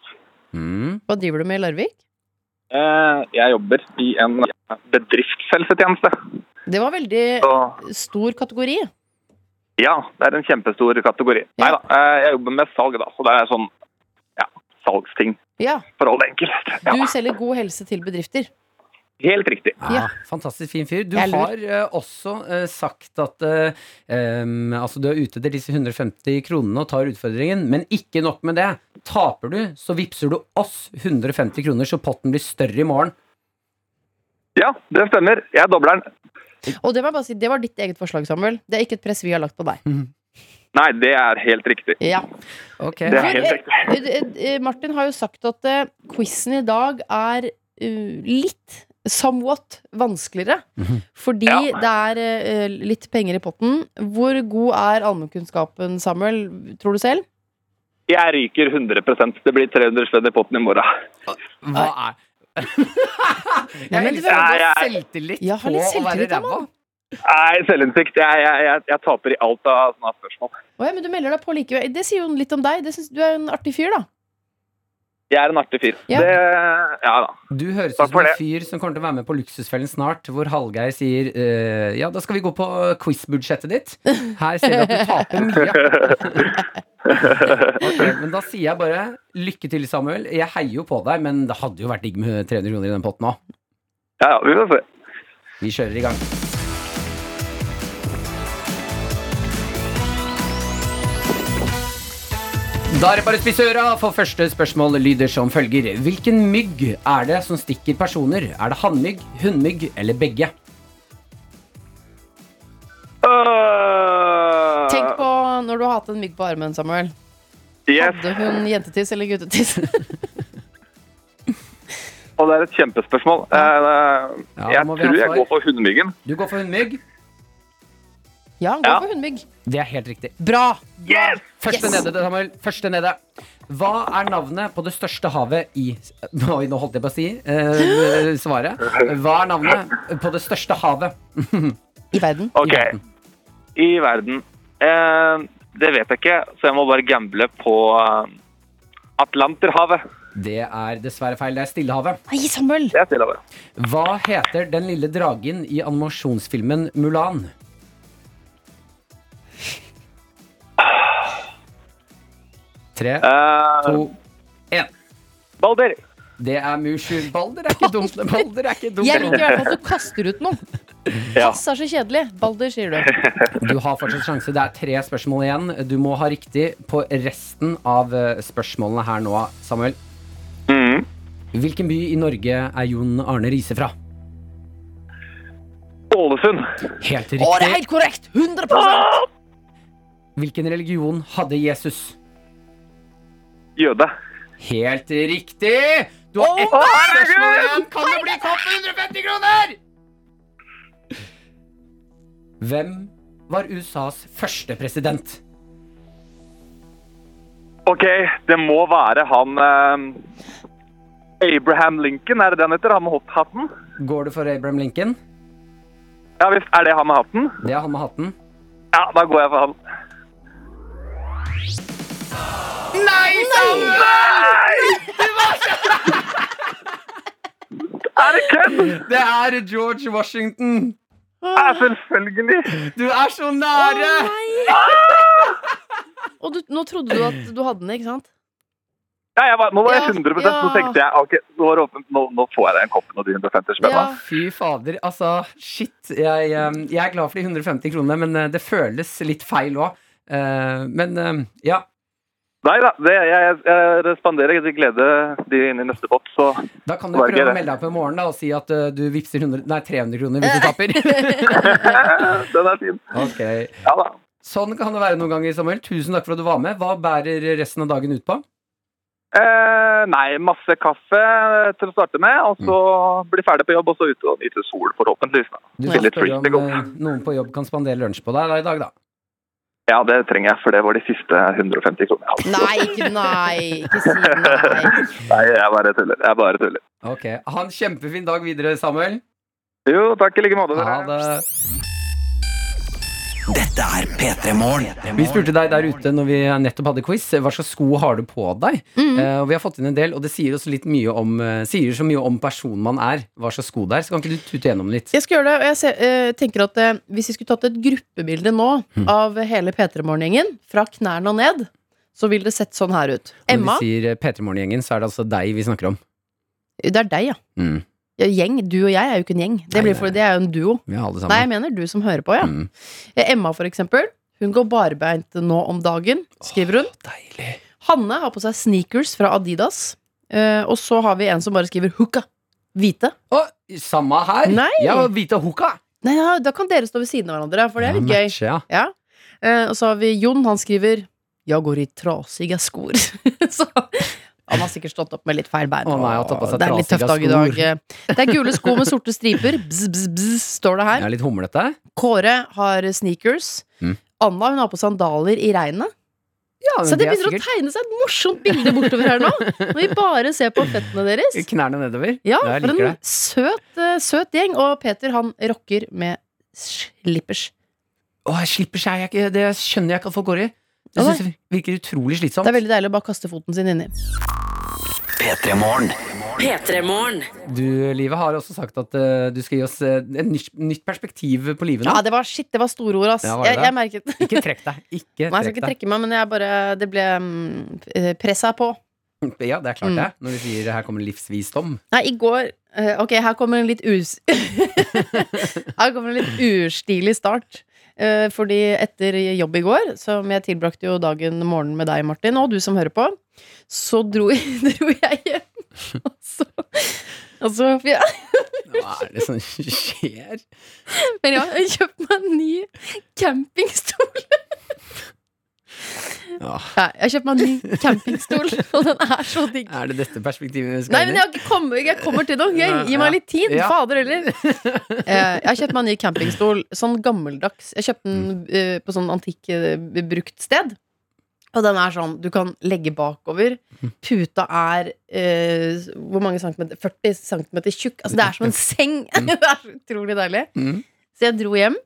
Mm. Hva driver du med i Larvik? Eh, jeg jobber i en bedriftshelsetjeneste. Det var veldig Så stor kategori. ja, det er en kjempestor kategori. Ja. Neida, eh, jeg jobber med salg, da, så det er sånn ja, salgsting Ja, for all det enkelt. Du Ja, selger god helse til bedrifter. helt riktig. Ja, Ja. Fantastisk fin fyr. Du Jeg er lur. har eh, også eh, sagt at eh, em, altså du er ute etter disse 150 kronene og tar utfordringen, men ikke nok med det. Taper du, så vippser du oss 150 kroner, så potten blir større i morgen. Ja, det stemmer. Jeg dobler den. Og det må jeg bare si, det var ditt eget forslag, Samuel. Det er ikke et press vi har lagt på deg. Nei, det er helt riktig. Ja. Ok. Det For, er helt eh, riktig. eh, eh, Martin har jo sagt at eh, quizen i dag er eh, litt somewhat vanskeligere. Mhm. Fordi Ja. det er eh, litt penger i potten. Hvor god er allmennkunnskapen, Samuel? Tror du selv? Jeg ryker 100 Det blir 300 spenn i potten i morgen. Hva er Nei, Jeg men det elsker var- at du har selvtillit Jeg har på litt å være selvtillit, jeg, ræva. Nei, selvinnsikt. Jeg, jeg, jeg, jeg taper i alt av sånne spørsmål. Å ja, men du melder deg på likevel. Det sier jo litt om deg. Det synes, du er jo en artig fyr, da. Jeg er en artig fyr. Ja. Det, ja da. Du høres ut Takk som for en det. fyr som kommer til å være med på Luksusfellen snart, hvor Hallgeir sier eh, ja, da skal vi gå på quizbudsjettet ditt. Her ser vi at du taper mye. Ok, men da sier jeg bare lykke til, Samuel. Jeg heier jo på deg, men det hadde jo vært digg med 300 kroner i den potten òg. Ja, ja, vi får se. Vi kjører i gang. Da er det bare å spisse øra, for første spørsmål lyder som følger. Hvilken mygg er det som stikker personer? Er det hannmygg, hunnmygg eller begge? Øh, Tenk på når du har hatt en mygg på armen, Samuel. yes. Hadde hun jentetiss eller guttetiss? Og det er et kjempespørsmål. Eh, Ja, da jeg må vi ha tror jeg svar. går for hundemyggen. Du går for hunnmygg. ja, gå Ja. for hundmygg. Det er helt riktig. Bra! Yes! Første Yes! nede, Samuel. Første nede. Hva er navnet på det største havet i Oi, nå holdt jeg på å si eh, svaret. Hva er navnet på det største havet? I verden. OK. I verden. Eh, det vet jeg ikke, så jeg må bare gamble på eh, Atlanterhavet. Det er dessverre feil. Det er Stillehavet. Nei, Samuel! Det er stille over. Hva heter den lille dragen i animasjonsfilmen Mulan? Tre, Eh, to, én. Balder. Det er Mushu. Balder er ikke dumt. Balder er ikke Jeg liker i dumt. hvert fall at du kaster ut noen. Ja. Pass er så kjedelig. Balder, sier du. Du har fortsatt sjanse. Det er tre spørsmål igjen. Du må ha riktig på resten av eh, spørsmålene her nå, Samuel. Mm. Mhm. Hvilken by i Norge er Jon Arne Riise fra? Ålesund. Helt Å, det er riktig. helt korrekt! 100 Hvilken religion hadde Jesus? Jøde. Helt riktig! Du har ett spørsmål igjen. Kan det bli kopp for 150 kroner? Hvem var USAs første president? OK, det må være han eh, Abraham Lincoln, er det det han heter? Han med hot- hatten? Går det for Abraham Lincoln? Ja visst, er det han med hatten? Det er han med hatten. Ja, da går jeg for han. Nei, Samuel! Det var så Er det kødd?! Det er George Washington! Ja, selvfølgelig! Du er så nære! Og du, nå trodde du at du hadde den, ikke sant? Ja, jeg var, nå var jeg Ja, 100 Nå ja. tenkte jeg ok, nå, var det åpent, nå, nå får jeg en kopp med de 150 spenna. Ja. Fy fader, altså shit. Jeg, eh, jeg er glad for de 150 kronene, men eh, det føles litt feil òg. Men eh, ja. Nei da, det, jeg, jeg responderer til glede de inn i neste pott, så Da kan du Var det prøve å det? melde deg på i morgen da, og si at eh, du vippser 100, nei, 300 kroner hvis du tapper. den er fin. Ok. Ja da. Sånn kan det være noen ganger, Samuel. Tusen takk for at du var med. Hva bærer resten av dagen ut på? Eh, nei, masse kaffe til å starte med, og så bli ferdig på jobb, og så ut og nyte sol, forhåpentligvis. Da. Du Ja. skal Litt spørre om fryselig godt. eh, noen på jobb kan spandere lunsj på deg da, i dag, da. Ja, det trenger jeg, for det var de siste 150 kronene jeg hadde. Nei, ikke nei. Ikke si nei. Nei, jeg bare tuller. Jeg bare tuller. Ok. Ha en kjempefin dag videre, Samuel. Jo, takk i like måte, dere. Ha det. Dette er P3 Morgen. Vi spurte deg der ute når vi nettopp hadde quiz, hva slags sko har du på deg? Mm. Eh, og vi har fått inn en del, og det sier oss litt mye om eh, Sier så mye om personen man er, hva slags sko det er. Så kan ikke du tute gjennom litt? Jeg skal gjøre det, og jeg ser, eh, tenker at eh, hvis vi skulle tatt et gruppebilde nå Mm. av hele P3-morgengjengen, fra knærne og ned, så ville det sett sånn her ut. Emma, Når vi sier eh, P3 Morgen-gjengen, så er det altså deg vi snakker om. det er deg, ja. Mm. ja. Gjeng. Du og jeg er jo ikke en gjeng. Det, Nei, blir nei, for, det er jo en duo. Vi har alle Nei, jeg sammen. mener du som hører på, ja. Mm. Eh, Emma, for eksempel. Hun går barbeint nå om dagen, skriver hun. Deilig. Hanne har på seg sneakers fra Adidas. Eh, og så har vi en som bare skriver 'hooka'. Hvite. Og samme her. Nei. Ja, og Vita Hoka. Nei, ja, da kan dere stå ved siden av hverandre, for det er litt gøy. Matcher, ja. Ja. Eh, og så har vi Jon, han skriver 'Jeg går i trasige skor'. så han har sikkert stått opp med litt feil bein. Å nei, han har tatt på og seg det er en litt trasige tøff dag i skor. dag. Det er gule sko med sorte striper. Bzz, bzz, bzz, står det Jeg her. er litt humlete. Kåre har sneakers. Mm. Anna hun har på sandaler i regnet. Ja, men Så det er begynner å tegne seg et morsomt bilde bortover her nå. Når vi bare ser på føttene deres. sikkert knærne nedover. Ja, jeg for liker en det. søt, eh, søt gjeng. Og Peter, han rocker med slippers. Å, jeg slipper seg. Jeg, er ikke- det skjønner jeg ikke at folk går i. Det Å, nei. synes jeg virker utrolig slitsomt. Det er veldig deilig å bare kaste foten sin inni. P3 Morgen. P3-morgen. Du, Livet, har også sagt at eh, du skal gi oss eh, en nytt, nytt perspektiv på livet nå. Ja, Ah, det var shit, det var store ord, ass. Ja, var det jeg, det? jeg merket Nei, Ikke trekk deg. Ikke jeg skal trekk ikke deg. trekke meg, men jeg bare Det ble mm, pressa på. Ja, det er klart Mm. det. Når du sier 'her kommer livsvisdom'. Nei, i går eh, Ok, her kommer en litt us... her kommer en litt urstilig start. Eh, Fordi etter jobb i går, som jeg tilbrakte jo dagen morgenen med deg, Martin, og du som hører på, så dro, dro jeg hjem. Og så, og så for jeg, Hva er det som skjer? Men ja, jeg kjøpte meg en ny campingstol. Ja, Nei, jeg kjøpte meg en ny campingstol, og den er så digg. er det dette perspektivet vi Nei, skal men inn jeg, i? har ikke kommet, jeg kommer til noe gøy. Gi meg litt tid. Ja. Fader heller. Eh, Jeg har kjøpt meg en ny campingstol. Sånn gammeldags. Jeg kjøpte den Mm. eh, på sånn antikk eh, brukt sted. Og den er sånn, du kan legge bakover. Puta er eh, hvor mange centimeter? 40 centimeter tjukk. Altså, det er som en seng. det er så utrolig deilig. Mm. Så jeg dro hjem.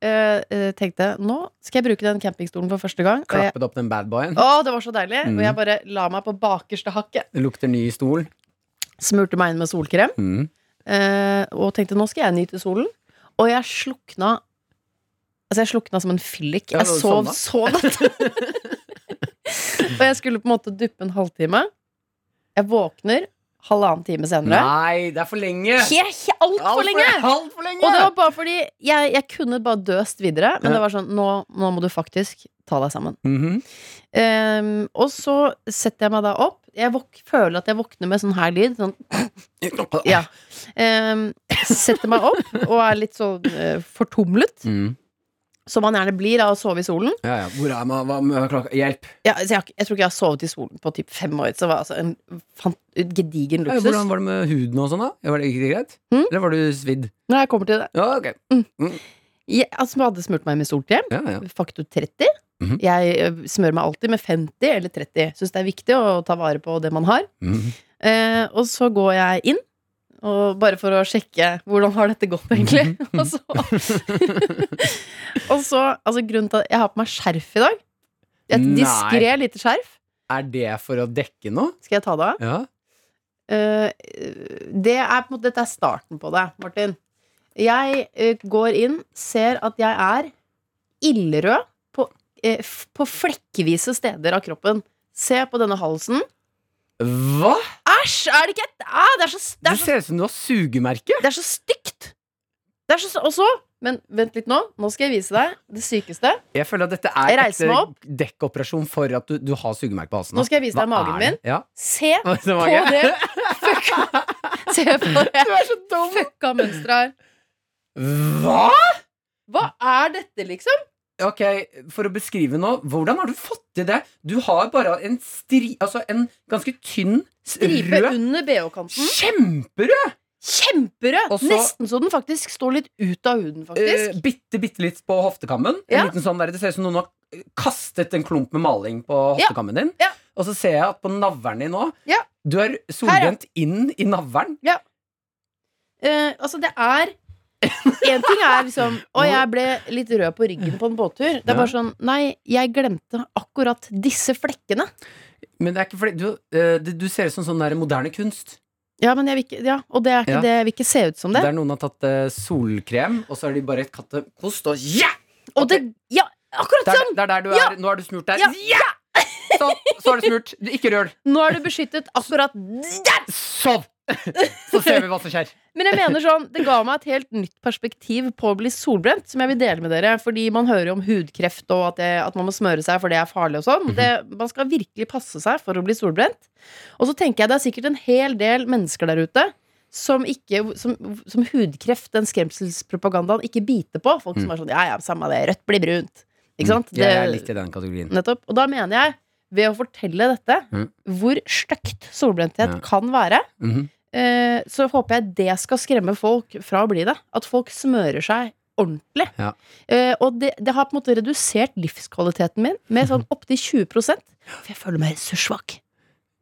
eh, eh, tenkte nå skal jeg bruke den campingstolen for første gang. Og jeg, Klappet opp den badboyen. å, det var så deilig! Mm. Og jeg bare la meg på bakerste hakket. Det lukter ny stol. Smurte meg inn med solkrem. Mm. eh, og tenkte nå skal jeg nyte solen. Og jeg slukna Altså jeg slukna som en fyllik. Ja, Jeg du sov sovna. så natt. og jeg skulle på en måte duppe en halvtime. Jeg våkner halvannen time senere. Nei, det er for lenge! Altfor alt for lenge! Alt for lenge! Og det var bare fordi jeg, jeg kunne bare døst videre. Men Ja. det var sånn nå, nå må du faktisk ta deg sammen. Mhm. Ehm, og så setter jeg meg da opp. Jeg våk, føler at jeg våkner med sånn her lyd. Sånn Ja. Ehm, setter meg opp og er litt sånn eh, fortumlet, Mm. som man gjerne blir av å sove i solen. Ja, ja. Hvor er man? Hva hva er klokka? Hjelp! Ja, så jeg, har ikke- jeg tror ikke jeg har sovet i solen på typ fem år. Så det var altså en fan- gedigen Eh, luksus. Hvordan var det med huden og sånn, da? Var det ikke greit? Mm. Eller var du svidd? Når jeg kommer til det Ja, ok. jeg, altså, jeg hadde smurt meg med solkrem. Ja, ja. Faktor 30. Mhm. Jeg eh, smører meg alltid med 50 eller 30. Syns det er viktig å ta vare på det man har. Mhm. Eh, og så går jeg inn, og bare for å sjekke hvordan har dette gått, egentlig. Mhm. og så, og så altså, grunnen til at jeg har på meg skjerf i dag. Et Nei. diskré lite skjerf. Er det for å dekke noe? Skal jeg ta det av? Ja. eh, det er, på en måte- Dette er starten på det, Martin. Jeg eh, går inn, ser at jeg er ildrød på, eh, f- på flekkevise steder av kroppen. Se på denne halsen. Hva? Æsj! Er det ikke et ah, det, er så, det, Du er så, ser ut som du har sugemerke. det er så stygt! Det er så Og så Men vent litt nå. Nå skal jeg vise deg det sykeste. Jeg føler at dette Jeg er reiser meg opp. dekkoperasjon for at du, du har sugemerke på halsen. Nå skal jeg vise deg magen min. Ja. Se Nå er det på mage. det fucka Se på det Du er så dum! fucka mønsteret her. Hva?! Hva er dette, liksom? Ok, For å beskrive nå, hvordan har du fått til det? Du har bare en stri... Altså en ganske tynn, s- Stripe rød under Mm. bh-kanten. Kjemperød! Kjemperød! Og så- Nesten så den faktisk står litt ut av huden, Eh, faktisk. bitte, bitte litt på hoftekammen. Ja. En liten sånn der, Det ser ut som noen har eh, kastet en klump med maling på Ja. hoftekammen din. Ja. Og så ser jeg at på navlen din nå Ja. Du er solbrent inn i navlen. Eh, altså, det er Én ting er liksom Å, jeg ble litt rød på ryggen på en båttur. Det er bare sånn Nei, jeg glemte akkurat disse flekkene. Men det er ikke fordi du, eh, du, du ser ut som sånn der moderne kunst. Ja, men jeg vil ikke Ja, og det er ikke Ja. det. Jeg vil ikke se ut som det. Der noen har tatt eh, solkrem, og så har de bare et kattekost og ja! og det Ja, akkurat Det er sånn! det er der du er. Ja! Nå er du smurt der. Ja! Ja! Sånn, så er du smurt. Du, ikke røl. Nå er du beskyttet akkurat der! Sånn! Så ser vi hva som skjer. Men jeg mener sånn, det ga meg et helt nytt perspektiv på å bli solbrent, som jeg vil dele med dere. Fordi man hører jo om hudkreft og at, det, at man må smøre seg for det er farlig og sånn. Mhm. Det- Man skal virkelig passe seg for å bli solbrent. Og så tenker jeg det er sikkert en hel del mennesker der ute som, ikke, som, som hudkreft, den skremselspropagandaen, ikke biter på. Folk Mm. som er sånn ja ja, samme det, rødt blir brunt. Ikke sant? Jeg er Det- Mm. litt i den kategorien. Nettopp. Og da mener jeg, ved å fortelle dette, Mm. hvor stygt solbrenthet Ja. kan være, Mhm. Eh, så håper jeg det skal skremme folk fra å bli det. At folk smører seg ordentlig. Ja. Eh, og det, det har på en måte redusert livskvaliteten min med sånn opptil 20 For jeg føler meg ressurssvak.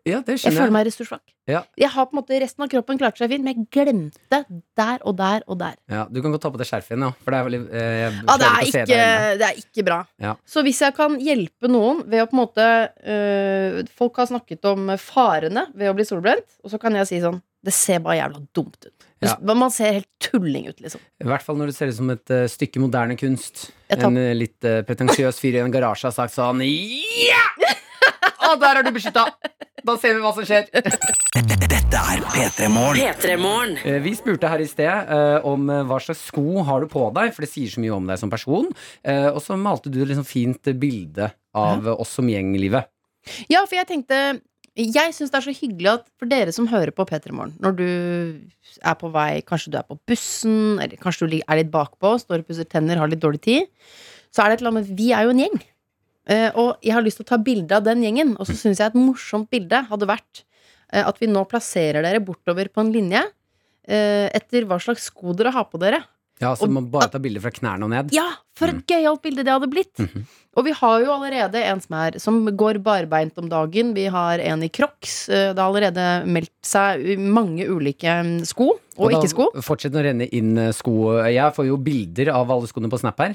Ja, det Jeg føler skjønner jeg. meg ressurssvak. Ja. Jeg har på en måte Resten av kroppen klarte seg fint, men jeg glemte der og der og der. Ja, du kan godt ta på deg skjerfet igjen, ja. For det er veldig eh, jeg Ja, Ah, det klarer er, ikke å se ikke, deg inne. det er ikke bra. Ja. Så hvis jeg kan hjelpe noen ved å på en måte øh, Folk har snakket om farene ved å bli solbrent, og så kan jeg si sånn Det ser bare jævla dumt ut. Ja. Men Man ser helt tulling ut, liksom. I hvert fall når det ser ut som et eh, stykke moderne kunst. Jeg tar- En eh, litt eh, pretensiøs fyr i en garasje har sagt sånn Ja! Og der er du beskytta! Da ser vi hva som skjer. Dette er P3 Morgen. P3morgen. Eh, Vi spurte her i sted eh, om eh, hva slags sko har du på deg, for det sier så mye om deg som person. Eh, og så malte du et liksom fint eh, bilde av eh, oss som gjenglivet. Ja, for jeg tenkte Jeg syns det er så hyggelig at for dere som hører på P3 Morgen, når du er på vei, kanskje du er på bussen, eller kanskje du lig- er litt bakpå, står og pusser tenner, har litt dårlig tid, så er det et eller annet med Vi er jo en gjeng. Eh, og jeg har lyst til å ta bilde av den gjengen, og så syns jeg et morsomt bilde hadde vært eh, at vi nå plasserer dere bortover på en linje eh, etter hva slags sko dere har på dere. Ja, så Og- man bare tar bilder fra knærne og ned. Ja, for Mm. et gøyalt bilde det hadde blitt. Mhm. Og vi har jo allerede en som, er, som går barbeint om dagen. Vi har en i crocs. Eh, Det har allerede meldt seg u- mange ulike mm, sko og, da ikke sko. Fortsetter å renne inn eh, sko. Jeg får jo bilder av alle skoene på Snap her.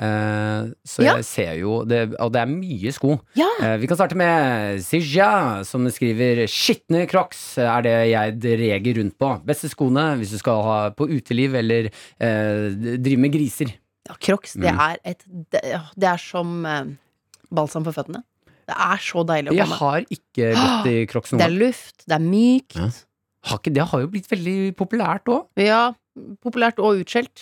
Eh, så Ja. jeg ser jo det, Og det er mye sko. Ja. Eh, vi kan starte med Sija, som skriver 'Skitne crocs er det jeg dreger rundt på'. Beste skoene hvis du skal ha på uteliv eller eh, drive med griser. ja crocs, det Mm. er et Det, ja, det er som eh, balsam for føttene. Det er så deilig å Jeg komme. har ikke gått i crocs noen Det er gang. luft, det er mykt. Ja. Har ikke- Det har jo blitt veldig populært òg. Ja, populært og utskjelt.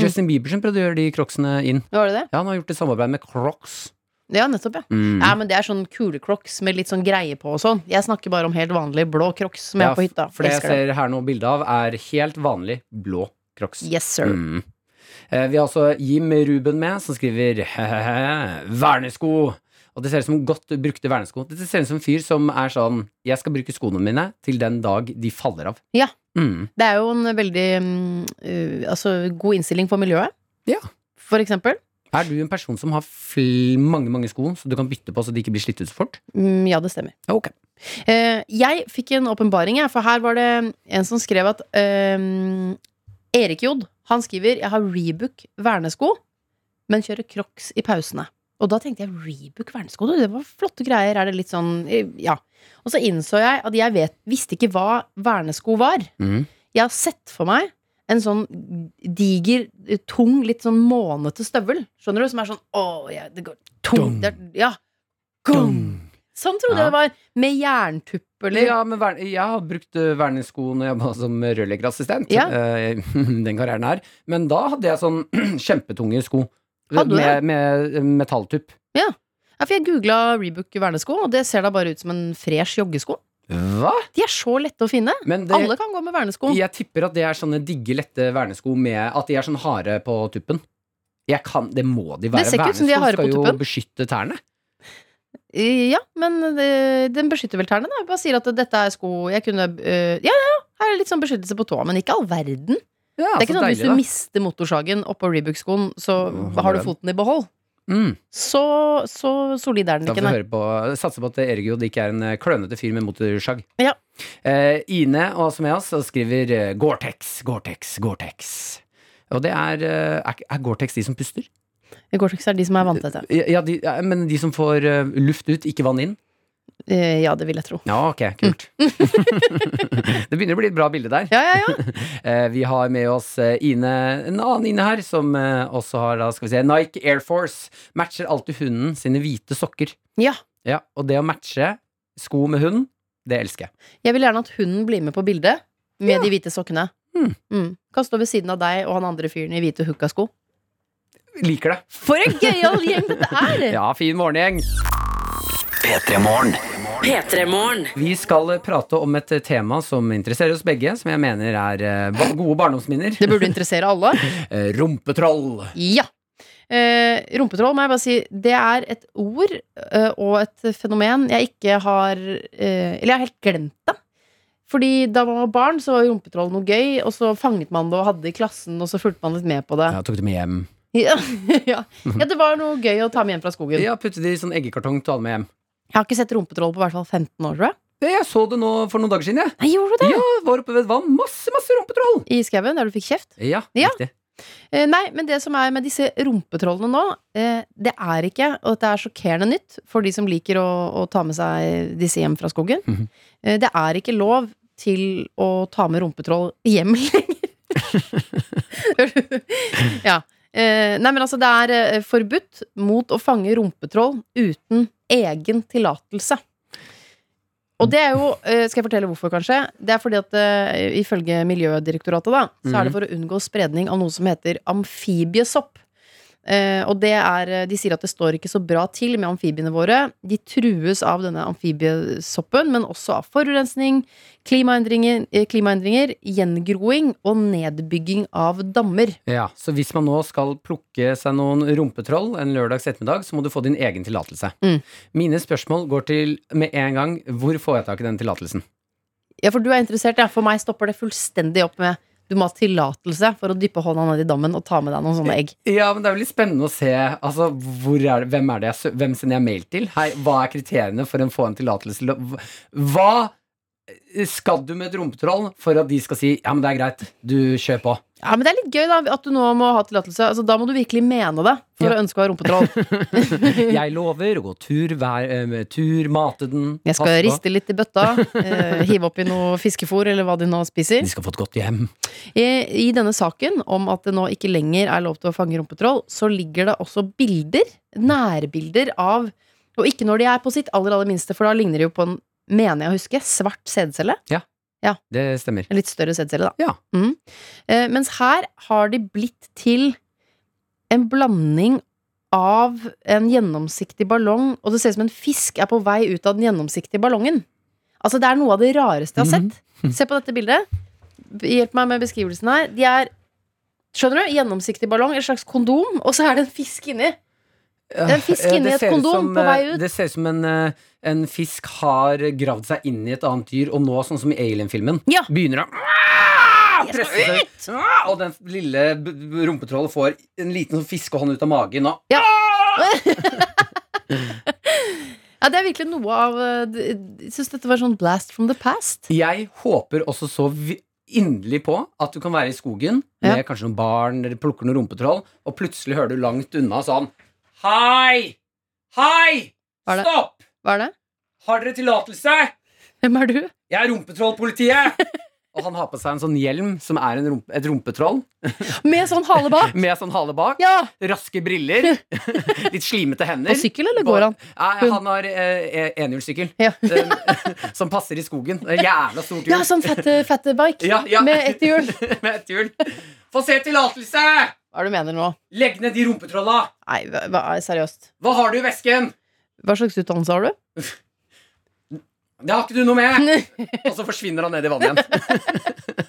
Justin Biebersen prøvde å gjøre de crocsene inn. Var det det? Ja, han har gjort et samarbeid med Crocs. Ja, nettopp, ja. Mm. Ja, men Det er sånn kule crocs med litt sånn greie på og sånn. Jeg snakker bare om helt vanlige blå crocs som jeg har på hytta. For det jeg Elsker dem. ser her nå bilde av, er helt vanlig blå crocs. Yes, sir. Mm. Eh, Vi har også Jim Ruben med, som skriver vernesko. Og det ser ut som godt brukte vernesko. Det ser ut som en fyr som er sånn Jeg skal bruke skoene mine til den dag de faller av. Ja. Mm. Det er jo en veldig mm, uh, altså, god innstilling for miljøet. Ja. For eksempel. Er du en person som har fl mange mange sko som du kan bytte på så de ikke blir slitt ut så fort? Mm, ja, det stemmer. Ok. Eh, jeg fikk en åpenbaring, jeg, for her var det en som skrev at eh, Erik Jod, han skriver 'Jeg har Rebook vernesko, men kjører Crocs i pausene'. Og da tenkte jeg Rebook vernesko, du, det var flotte greier. Er det litt sånn eh, Ja. Og så innså jeg at jeg vet, visste ikke hva vernesko var. Mhm. Jeg har sett for meg en sånn diger, tung, litt sånn månete støvel. Skjønner du? Som er sånn Å, ja, det går Dung. tung. Det er, ja. Gung. Sånn trodde jeg det var. Med jerntupp eller Ja, men vern- jeg har brukt eh, vernesko når jeg var som rørleggerassistent. Ja. eh, Den karrieren her. Men da hadde jeg sånn kjempetunge sko. Hadde du med, med eh, metalltupp. Ja, for jeg googla Rebook vernesko, og det ser da bare ut som en fresh joggesko. Hva? De er så lette å finne. Men det, Alle kan gå med vernesko. jeg tipper at det er sånne digge, lette vernesko med At de er sånn harde på tuppen. Jeg kan, det må de være. Det ser ikke ut som de er harde på skal jo tuppen. beskytte tærne. Ja, men eh, den beskytter vel tærne, da. Jeg bare sier at dette er sko jeg kunne eh, Ja, ja, ja. Her er litt sånn beskyttelse på tåa, men ikke all verden. Ja, det er så ikke sånn at hvis deilig, du da. mister motorsagen oppå Rebook-skoen, så Holder har du den. foten i behold. Mm. Så, så solid er den Da ikke, får vi nei. høre på, satse på at Erik Jod ikke er en eh, klønete fyr med motorsag. Ja. Eh, Ine og Smeas skriver eh, Gore-Tex, Gore-Tex, Gore-Tex. Og det er eh, Er, ikke- er Gore-Tex de som puster? Gore-Tex er de som er vanntette. Ja, ja, de, ja, men de som får eh, luft ut, ikke vann inn? Eh, Ja, det vil jeg tro. Ja, ok, kult. det begynner å bli et bra bilde der. Ja, ja, ja. Eh, Vi har med oss eh, Ine, en annen Ine her, som eh, også har da, skal vi se, Nike Air Force. Matcher alltid hunden sine hvite sokker. ja. Ja, Og det å matche sko med hund, det elsker jeg. Jeg vil gjerne at hunden blir med på bildet med de hvite sokkene. Mm. Mm. Kan stå ved siden av deg og han andre fyren i hvite hukkasko. Liker det. For en gøyal gjeng dette er! Ja, fin morgengjeng. P3 Morgen. P3-morgen. Vi skal eh, prate om et eh, tema som interesserer oss begge, som jeg mener er eh, ba- gode barndomsminner. Det burde interessere alle. Eh, Rumpetroll. Ja. Eh, rumpetroll må jeg bare si Det er et ord eh, og et fenomen jeg ikke har eh, Eller jeg har helt glemt det. Fordi da man var barn, så var rumpetroll noe gøy, og så fanget man det og hadde det i klassen, og så fulgte man litt med på det. Ja, tok du med hjem? Ja, ja. ja det var noe gøy å ta med hjem fra skogen. Ja, Putte det i sånn eggekartong til alle med hjem. Jeg har ikke sett rumpetroll på i hvert fall 15 år, tror jeg. Det, Jeg så det nå for noen dager siden. jeg. Nei, gjorde du det? Ja, Var oppe ved et vann. Masse, masse rumpetroll. I skauen, der du fikk kjeft? Ja, Ja. riktig. Eh, nei, men det som er med disse rumpetrollene nå, eh, det er ikke, og det er sjokkerende nytt for de som liker å, å ta med seg disse hjem fra skogen, Mhm. eh, det er ikke lov til å ta med rumpetroll hjem lenger. ja. Eh, nei, men altså, det er eh, forbudt mot å fange rumpetroll uten egen tillatelse. Og det er jo, eh, skal jeg fortelle hvorfor kanskje Det er fordi at eh, ifølge Miljødirektoratet da Så er det for å unngå spredning av noe som heter amfibiesopp Eh, Og det er, eh, de sier at det står ikke så bra til med amfibiene våre De trues av denne amfibiesoppen Men også av forurensning, klimaendringer, eh, klimaendringer gjengroing og nedbygging av dammer Ja, Så hvis man nå skal plukke seg noen rumpetroll en lørdags ettermiddag, så må du få din egen tillatelse. Mm. Mine spørsmål går til med en gang hvor får jeg tak i den tillatelsen? Ja, for du er interessert, ja For meg stopper det fullstendig opp med Du må ha tillatelse for å dyppe hånda ned i dammen Og ta med deg noen sånne egg Ja, men det er veldig spennende å se altså, hvor er det, hvem, er det jeg, sø- hvem sender jeg mail til. Hei, hva er kriteriene for å få en tillatelse? til å- Hva eh, skal du med et rumpetroll for at de skal si ja, men det er greit, du kjør på? Ja, men Det er litt gøy da, at du nå må ha tillatelse. Altså, da må du virkelig mene det for Ja. å ønske å ha rumpetroll. Jeg lover å gå tur, vær, eh, tur mate den, Jeg skal passe på. riste litt i bøtta, eh, hive oppi noe fiskefôr eller hva de nå spiser. De skal få et godt hjem. I, I denne saken om at det nå ikke lenger er lov til å fange rumpetroll, så ligger det også bilder, nærbilder av Og ikke når de er på sitt aller aller minste, for da ligner de jo på en, mener jeg å huske, svart sædcelle. Det stemmer. En litt større sædcelle, da. Ja. Mm. Eh, mens her har de blitt til en blanding av en gjennomsiktig ballong, og det ser ut som en fisk er på vei ut av den gjennomsiktige ballongen. Altså, det er noe av det rareste jeg har sett. Se på dette bildet. Hjelp meg med beskrivelsen her. De er Skjønner du? Gjennomsiktig ballong, et slags kondom, og så er det en fisk inni. er en fisk Ja, inni Øh, det et ser ut kondom som, på vei eh, ut. Det ser ut som en, eh, en fisk har gravd seg inn i et annet dyr, og nå, sånn som i Alien-filmen, Ja. begynner å Ah, Jeg skal presse seg Ah, Og den lille b- b- rumpetrollet får en liten sånn fiskehånd ut av magen. Og Ja, det er virkelig noe av eh, d- Jeg syns dette var sånn blast from the past. jeg håper også så vi- inderlig på at du kan være i skogen med kanskje noen barn, dere plukker noen rumpetroll, og plutselig hører du langt unna sånn Hei! Hei! Hva er det? Stopp! Hva er det? Har dere tillatelse? Hvem er du? Jeg er rumpetrollpolitiet! Og han har på seg en sånn hjelm som er en rump et rumpetroll, Med sånn hale bak? med sånn hale bak. Ja! Raske briller. Litt slimete hender. På sykkel, eller går han? Nei, han har eh, enhjulssykkel. Ja, Den- som passer i skogen. Det er Jævla stort hjul. ja sånn fette, fette bike Ja, ja. med ett hjul. Med et hjul. Få se tillatelse! Hva er det du mener nå? Legg ned de rumpetrolla! Nei, hva, hva- seriøst. Hva har du i vesken? Hva slags utdannelse har du? Det har ikke du noe med! Og så forsvinner han ned i vannet igjen.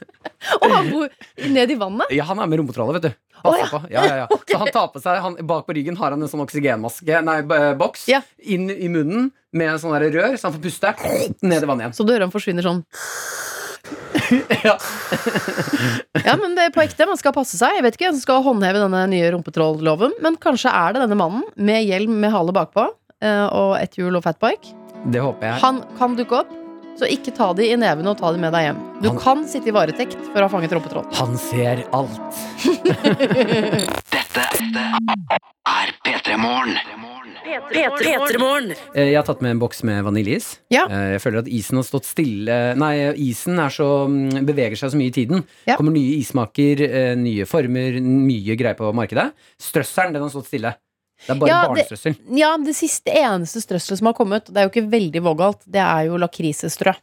Å, han bor ned i vannet? Ja, Han er med rumpetrollet, vet du. Passer Å, ja. på. Ja, ja, ja. Så han tar på seg han, Bak på ryggen har han en sånn oksygenmaske, nei, b- boks, Ja. inn i munnen med sånn der rør, så han får puste ned i vannet igjen. Så du hører han forsvinner sånn. Ja. Ja, men det er på ekte, man skal passe seg. Jeg vet ikke hvem som skal håndheve denne nye rumpetrollloven, men kanskje er det denne mannen med hjelm med hale bakpå eh, og ett hjul og fatbike. Det håper jeg. Han kan dukke opp, så ikke ta de i nevene og ta de med deg hjem. Du Han- kan sitte i varetekt for å ha fanget rumpetroll. Han ser alt. Dette er P3 Morgen. P3morgen. Eh, Jeg har tatt med en boks med vaniljeis. Ja. Eh, Jeg føler at isen har stått stille Nei, isen er så, mm, beveger seg så mye i tiden. Ja. Kommer nye ismaker, eh, nye former, mye greier på markedet. Strøsselen, den har stått stille. Det er bare Ja, det- barnestrøssel. Ja, det siste eneste strøsselet som har kommet, det er jo ikke veldig vågalt, det er jo lakrisestrø.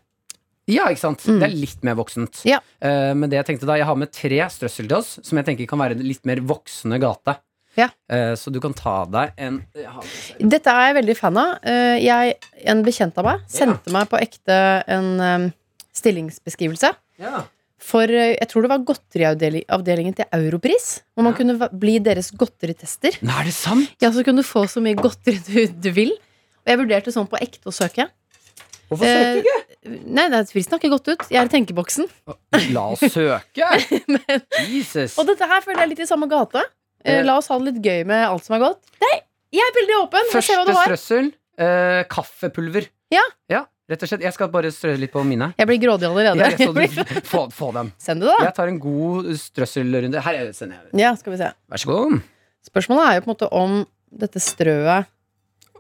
Ja, ikke sant? Mm. Det er litt mer voksent. Ja. Eh, men det jeg tenkte da, jeg har med tre strøssel til oss, som jeg tenker kan være en litt mer voksende gate. Ja. Eh, så du kan ta deg en jeg har- Dette er jeg veldig fan av. Eh, Jeg, en bekjent av meg sendte meg på ekte en eh, stillingsbeskrivelse. Ja. For eh, jeg tror det var godteriavdelingen til Europris. Hvor man Ja. kunne va- bli deres godteritester. Nå er det sant! Ja, så kunne du få så mye godteri du, du vil. Og jeg vurderte sånn på ekte å søke. Hvorfor søker Eh, ikke? Nei, nei, prisen har ikke gått ut. Jeg er i tenkeboksen. La oss søke! Jesus. Eh. Og dette her føler jeg er litt i samme gate. Eh, Eh. La oss ha det litt gøy med alt som er godt. Nei, jeg er veldig åpen. Jeg ser Første hva du har. strøssel eh, kaffepulver. Ja. Rett og slett. Jeg skal bare strø litt på mine. Jeg blir grådig allerede. Jeg, jeg, så, få, få dem. Send det, da. Jeg tar en god strøsselrunde. Her er- sender jeg. Ja, skal vi se. Vær så god. Spørsmålet er jo på en måte om dette strøet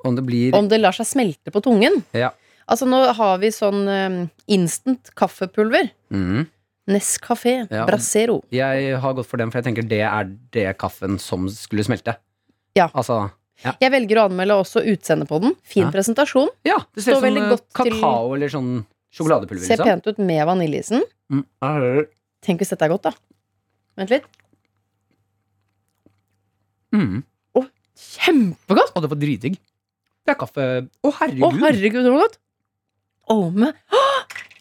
Om det blir Om det lar seg smelte på tungen. Ja. Altså, nå har vi sånn eh, instant kaffepulver. Mhm. Nescafé Ja. Bracero. Jeg har gått for den, for jeg tenker det er det kaffen som skulle smelte. Ja. Altså, Jeg velger å anmelde også utseendet på den. Fin Ja. presentasjon. ja det ser Står ut som veldig eh, godt til- kakao eller sånn sjokoladepulver. liksom. Ser pent ut med vaniljeisen. Mm. Arr. Tenk hvis dette er godt, da. Vent litt. Mm. Kjempegodt! Og det var dritdigg. Det er kaffe Å, herregud! Å, herregud, så godt! Å, men Å!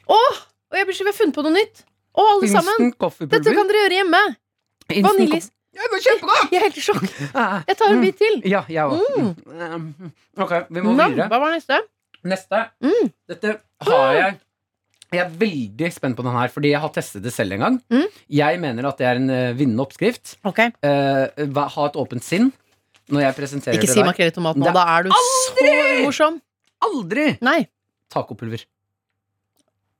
Og jeg blir så vi har funnet på noe nytt! Å, alle sammen! Instant kaffepulver. Dette kan dere gjøre hjemme! Instant Vaniljeis. kaffe- Ja, det var kjempegodt! Jeg er helt i sjokk. Ah. Jeg tar en Mm. bit til. Ja, jeg også. Mm. Mm. Ok, vi må Nam, videre. Hva var neste? Neste. Mm. Dette har jeg Jeg er veldig spent på den her, fordi jeg har testet det selv en gang. Mm. Jeg mener at det er en eh, vinnende oppskrift. Ok Eh, hva- ha et åpent sinn når jeg presenterer Ikke det si der. makrell i tomat nå, Det er da er du så morsom. Aldri Nei. tacopulver.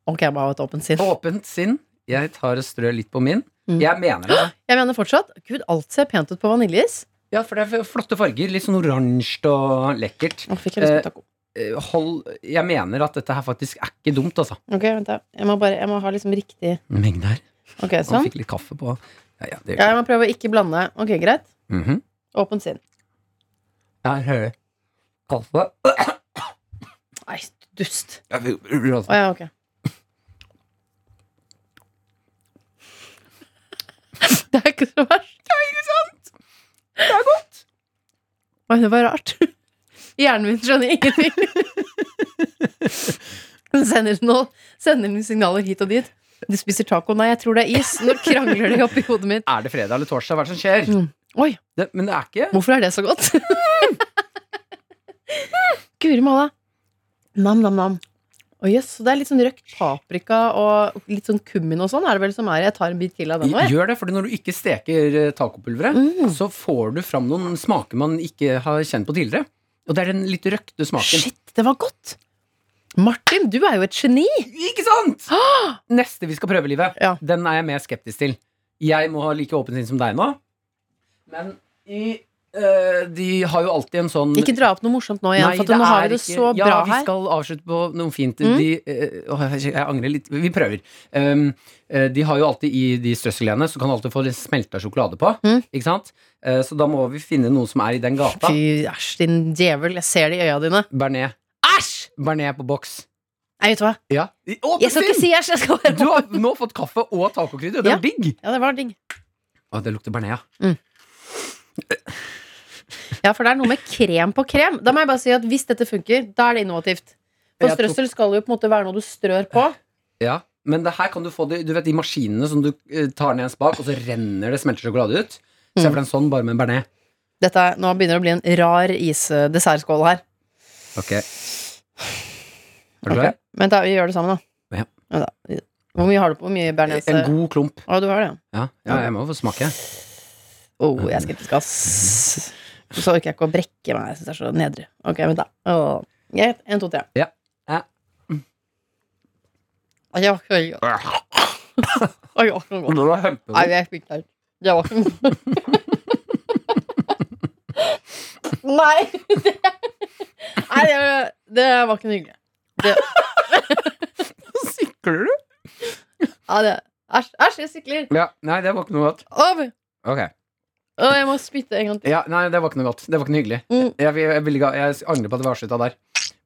Ok, jeg bare ha et åpent sinn. Åpent sinn. Jeg tar og strør litt på min. Mm. Jeg mener det. Jeg mener fortsatt Gud, alt ser pent ut på vaniljeis. Ja, for det er flotte farger. Litt sånn oransje og lekkert. Nå fikk jeg lyst Eh, på taco. Eh, Hold Jeg mener at dette her faktisk er ikke dumt, altså. Ok, vent da. Jeg må, bare, jeg må ha liksom riktig Mengde her. Ok, Han sånn. fikk litt kaffe på. Ja, ja, det gjør Ja, jeg må prøve å ikke blande. Ok, greit. Mhm. Åpent sinn. Jeg hører kaffe. Nei, dust. Jeg vil- Å ja, ok. Det er ikke så verst. Det er ikke sant! Det er godt. Oi, det var rart. Hjernen min skjønner ingenting. Den sender, nå, sender den signaler hit og dit. Du spiser taco. Nei, jeg tror det er is. Nå krangler de oppi hodet mitt. Er det fredag eller torsdag? Hva er det som skjer? Mm. Oi, Det, men det er ikke hvorfor er det så godt? Guri malla. Nam, nam, nam. Å, jøss, så det er litt sånn røkt paprika og litt sånn kummin og sånn. Er det vel som er Jeg tar en bit til av den nå, jeg. Gjør det, fordi når du ikke steker eh, tacopulveret, Mm. så får du fram noen smaker man ikke har kjent på tidligere. Og det er den litt røkte smaken. Shit, det var godt! Martin, du er jo et geni! Ikke sant? Neste vi skal prøve, Livet, Ja. den er jeg mer skeptisk til. Jeg må ha like åpent sinn som deg nå, men i eh, de har jo alltid en sånn Ikke dra opp noe morsomt nå igjen, Nei, for at nå det har er vi det ikke- så bra ja, Ja, her. vi skal avslutte på noe fint. Mm. De, eh, åh, jeg jeg angrer litt. Vi prøver. Um, eh, de har jo alltid i de strøsselgreiene, så kan du alltid få litt smelta sjokolade på. Mm. Ikke sant? Eh, så da må vi finne noe som er i den gata. Fy, æsj, din djevel. Jeg ser det i øya dine. Bernet. Æsj! Bernet på boks. Nei, vet du hva. Ja. Å, Jeg skal ikke Finn! si æsj. Jeg skal Du bare har nå fått kaffe og tacokrydder. Det er Ja. digg! Ja, det var digg. Å, det lukter bearnés, ja. Ja, for det er noe med krem på krem. Da må jeg bare si at Hvis dette funker, da er det innovativt. For Jeg tok- strøssel skal jo på en måte være noe du strør på. Ja, men det her kan du få det Du vet de maskinene som du eh, tar ned en spak, og så renner det smeltet sjokolade ut? Se Mm. for deg en sånn, bare med en bearnés. Dette er, nå begynner det å bli en rar isdessertskål her. Ok. Er du Ok. klar? Men da, vi gjør det sammen, da. Ja. da. Hvor mye har du på? Hvor mye bearnés? En god klump. Å, du har det, ja. Ja, ja jeg må få smake. Å, jeg er skeptisk, ass. Så orker jeg ikke å brekke meg. Jeg syns det er så nedrig. Ok, vent, da. Å, Greit. En, to, tre. Ja. Ja. Nei, Det var ikke veldig godt. Nei, det var ikke noe godt. Nei, jeg fikk det. Det var ikke noe Nei. Det, nei, det, det var ikke noe hyggelig. Sikler du? Ja, det- Æsj, æsj, jeg sikler. Ja, nei, det var ikke noe godt. Av! Ok. Å, jeg må spytte en gang til. Ja, nei, det var ikke noe godt. Det var ikke noe hyggelig. Mm. Jeg, jeg, jeg, ville ikke- jeg angrer på at det var avslutta der.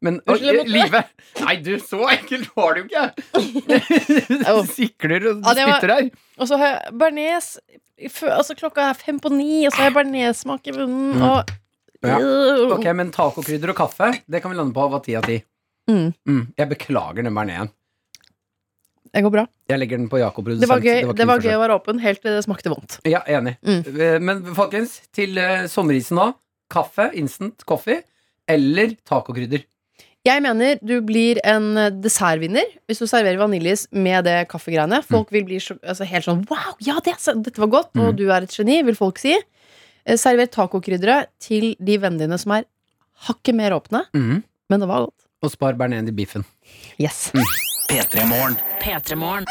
Men Unnskyld, jeg Oi, måtte- livet Nei, du, så enkelt var det jo ikke! Jo. Sikler og Ja, det var- spytter her. Og så har jeg bearnés i fø- Altså klokka er fem på ni, og så har jeg bearnéssmak i munnen, Mm. og Ja. Øh. Ok, men tacokrydder og kaffe, det kan vi lande på var ti av ti. Mm. Jeg beklager den bernesen. Det går bra. Jeg legger den på Jakob produsent. Det var gøy, ikke det noe var gøy forsøk. å være åpen helt til det smakte vondt. Ja, enig. Mm. Eh, Men folkens, til eh, sommerisen nå. Kaffe, instant coffee, eller tacokrydder. Jeg mener du blir en eh, dessertvinner hvis du serverer vaniljeis med det kaffegreiene. Folk vil bli sjok- altså, helt sånn Wow, ja, det, dette var godt, og du er et geni, vil folk si. Eh, Server tacokrydderet til de vennene dine som er hakket mer åpne, Mhm. men det var godt. Og spar bernesen i biffen. Yes. P3morgen. P3morgen.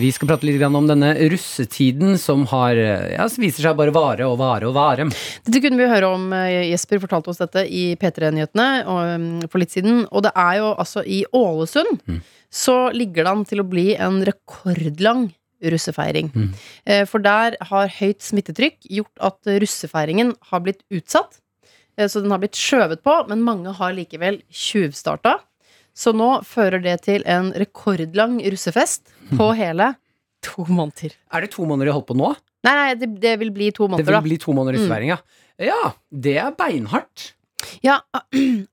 Vi skal prate litt grann om denne russetiden som har, eh, ja, som viser seg bare vare og vare og vare. Dette kunne vi høre om. eh, Jesper fortalte oss dette i P3-nyhetene og, um, for litt siden. Og det er jo altså i Ålesund Mm. så ligger det an til å bli en rekordlang russefeiring. Mm. Eh, For der har høyt smittetrykk gjort at eh, russefeiringen har blitt utsatt. Eh, Så den har blitt skjøvet på, men mange har likevel tjuvstarta. Så nå fører det til en rekordlang russefest Mm. på hele to måneder. Er det to måneder de har holdt på nå? Nei, nei, det, det vil bli to Det måneder, da. vil bli to måneder russefeiring, ja. Ja, det er beinhardt. Ja, jeg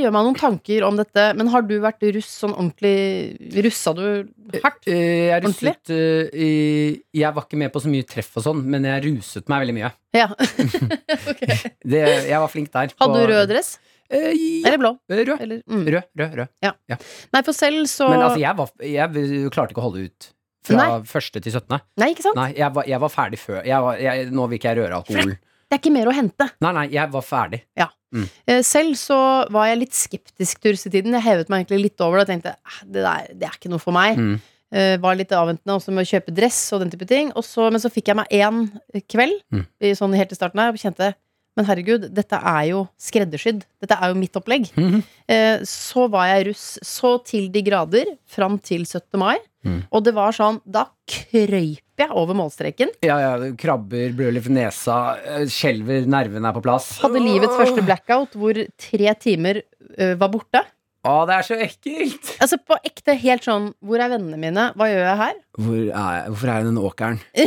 gjør meg noen tanker om dette, men har du vært russ sånn ordentlig Russa du hardt? Eh, Jeg Ordentlig? russet eh, i Jeg var ikke med på så mye treff og sånn, men jeg ruset meg veldig mye. Ja. ok. Det, jeg var flink der. Hadde du rød dress? Eh, ja, Eller blå? rød. Eller, mm. Rød, rød, rød. Nei, for selv så Men altså, jeg, var, jeg klarte ikke å holde ut fra Nei. første til 17. Nei, ikke sant? Nei, jeg var, jeg var ferdig før. Jeg var, jeg, nå vil ikke jeg røre alkohol. Det er ikke mer å hente. Nei, nei, jeg var ferdig. Eh, Selv så var jeg litt skeptisk til russetiden. Jeg hevet meg egentlig litt over det og tenkte "Ah, det der det er ikke noe for meg. Mm. Eh, var litt avventende også med å kjøpe dress og den type ting. Og så, men så fikk jeg meg én kveld Mm. i sånn helt i starten her og kjente men herregud, dette er jo skreddersydd. Dette er jo mitt opplegg. Mhm. Eh, så var jeg russ så til de grader fram til 17. mai. Mm. Og det var sånn, da krøyp jeg over målstreken. Ja, ja, krabber, bløler for nesa, eh, skjelver, nervene er på plass. Hadde livets første blackout hvor tre timer eh, var borte. Å, det er så ekkelt! Altså på ekte helt sånn Hvor er vennene mine? Hva gjør jeg her? Hvor er jeg? Hvorfor er jeg i den åkeren? Ja.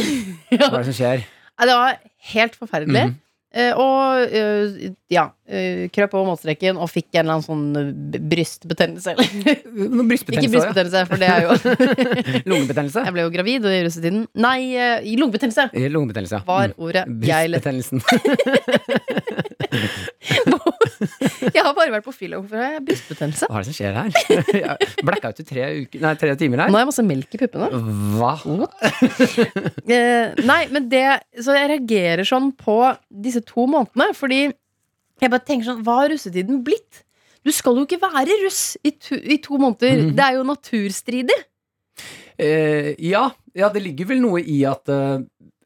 Hva er det som skjer? Nei, Det var helt forferdelig. Mm. Eh, og eh, ja, eh, krøp over målstreken og fikk en eller annen sånn eh, b- brystbetennelse. Eller, Noen ikke brystbetennelse? ja. brystbetennelse, for det er jo Lungebetennelse? Jeg ble jo gravid i russetiden. Nei, eh, lungebetennelse Eh, Lungebetennelse, ja. var Mm. ordet jeg lette. Brystbetennelsen. Jeg har bare vært på fylla. Hvorfor har jeg brystbetennelse? Hva er det som skjer her? Jeg Blackout i tre, uker, nei, tre timer Nå her. har jeg masse melk i puppene. Hva? Eh, nei, men det Så jeg reagerer sånn på disse to månedene, fordi jeg bare tenker sånn Hva har russetiden blitt? Du skal jo ikke være russ i to, i to måneder. Mhm. Det er jo naturstridig. Eh, ja, ja, det ligger vel noe i at eh,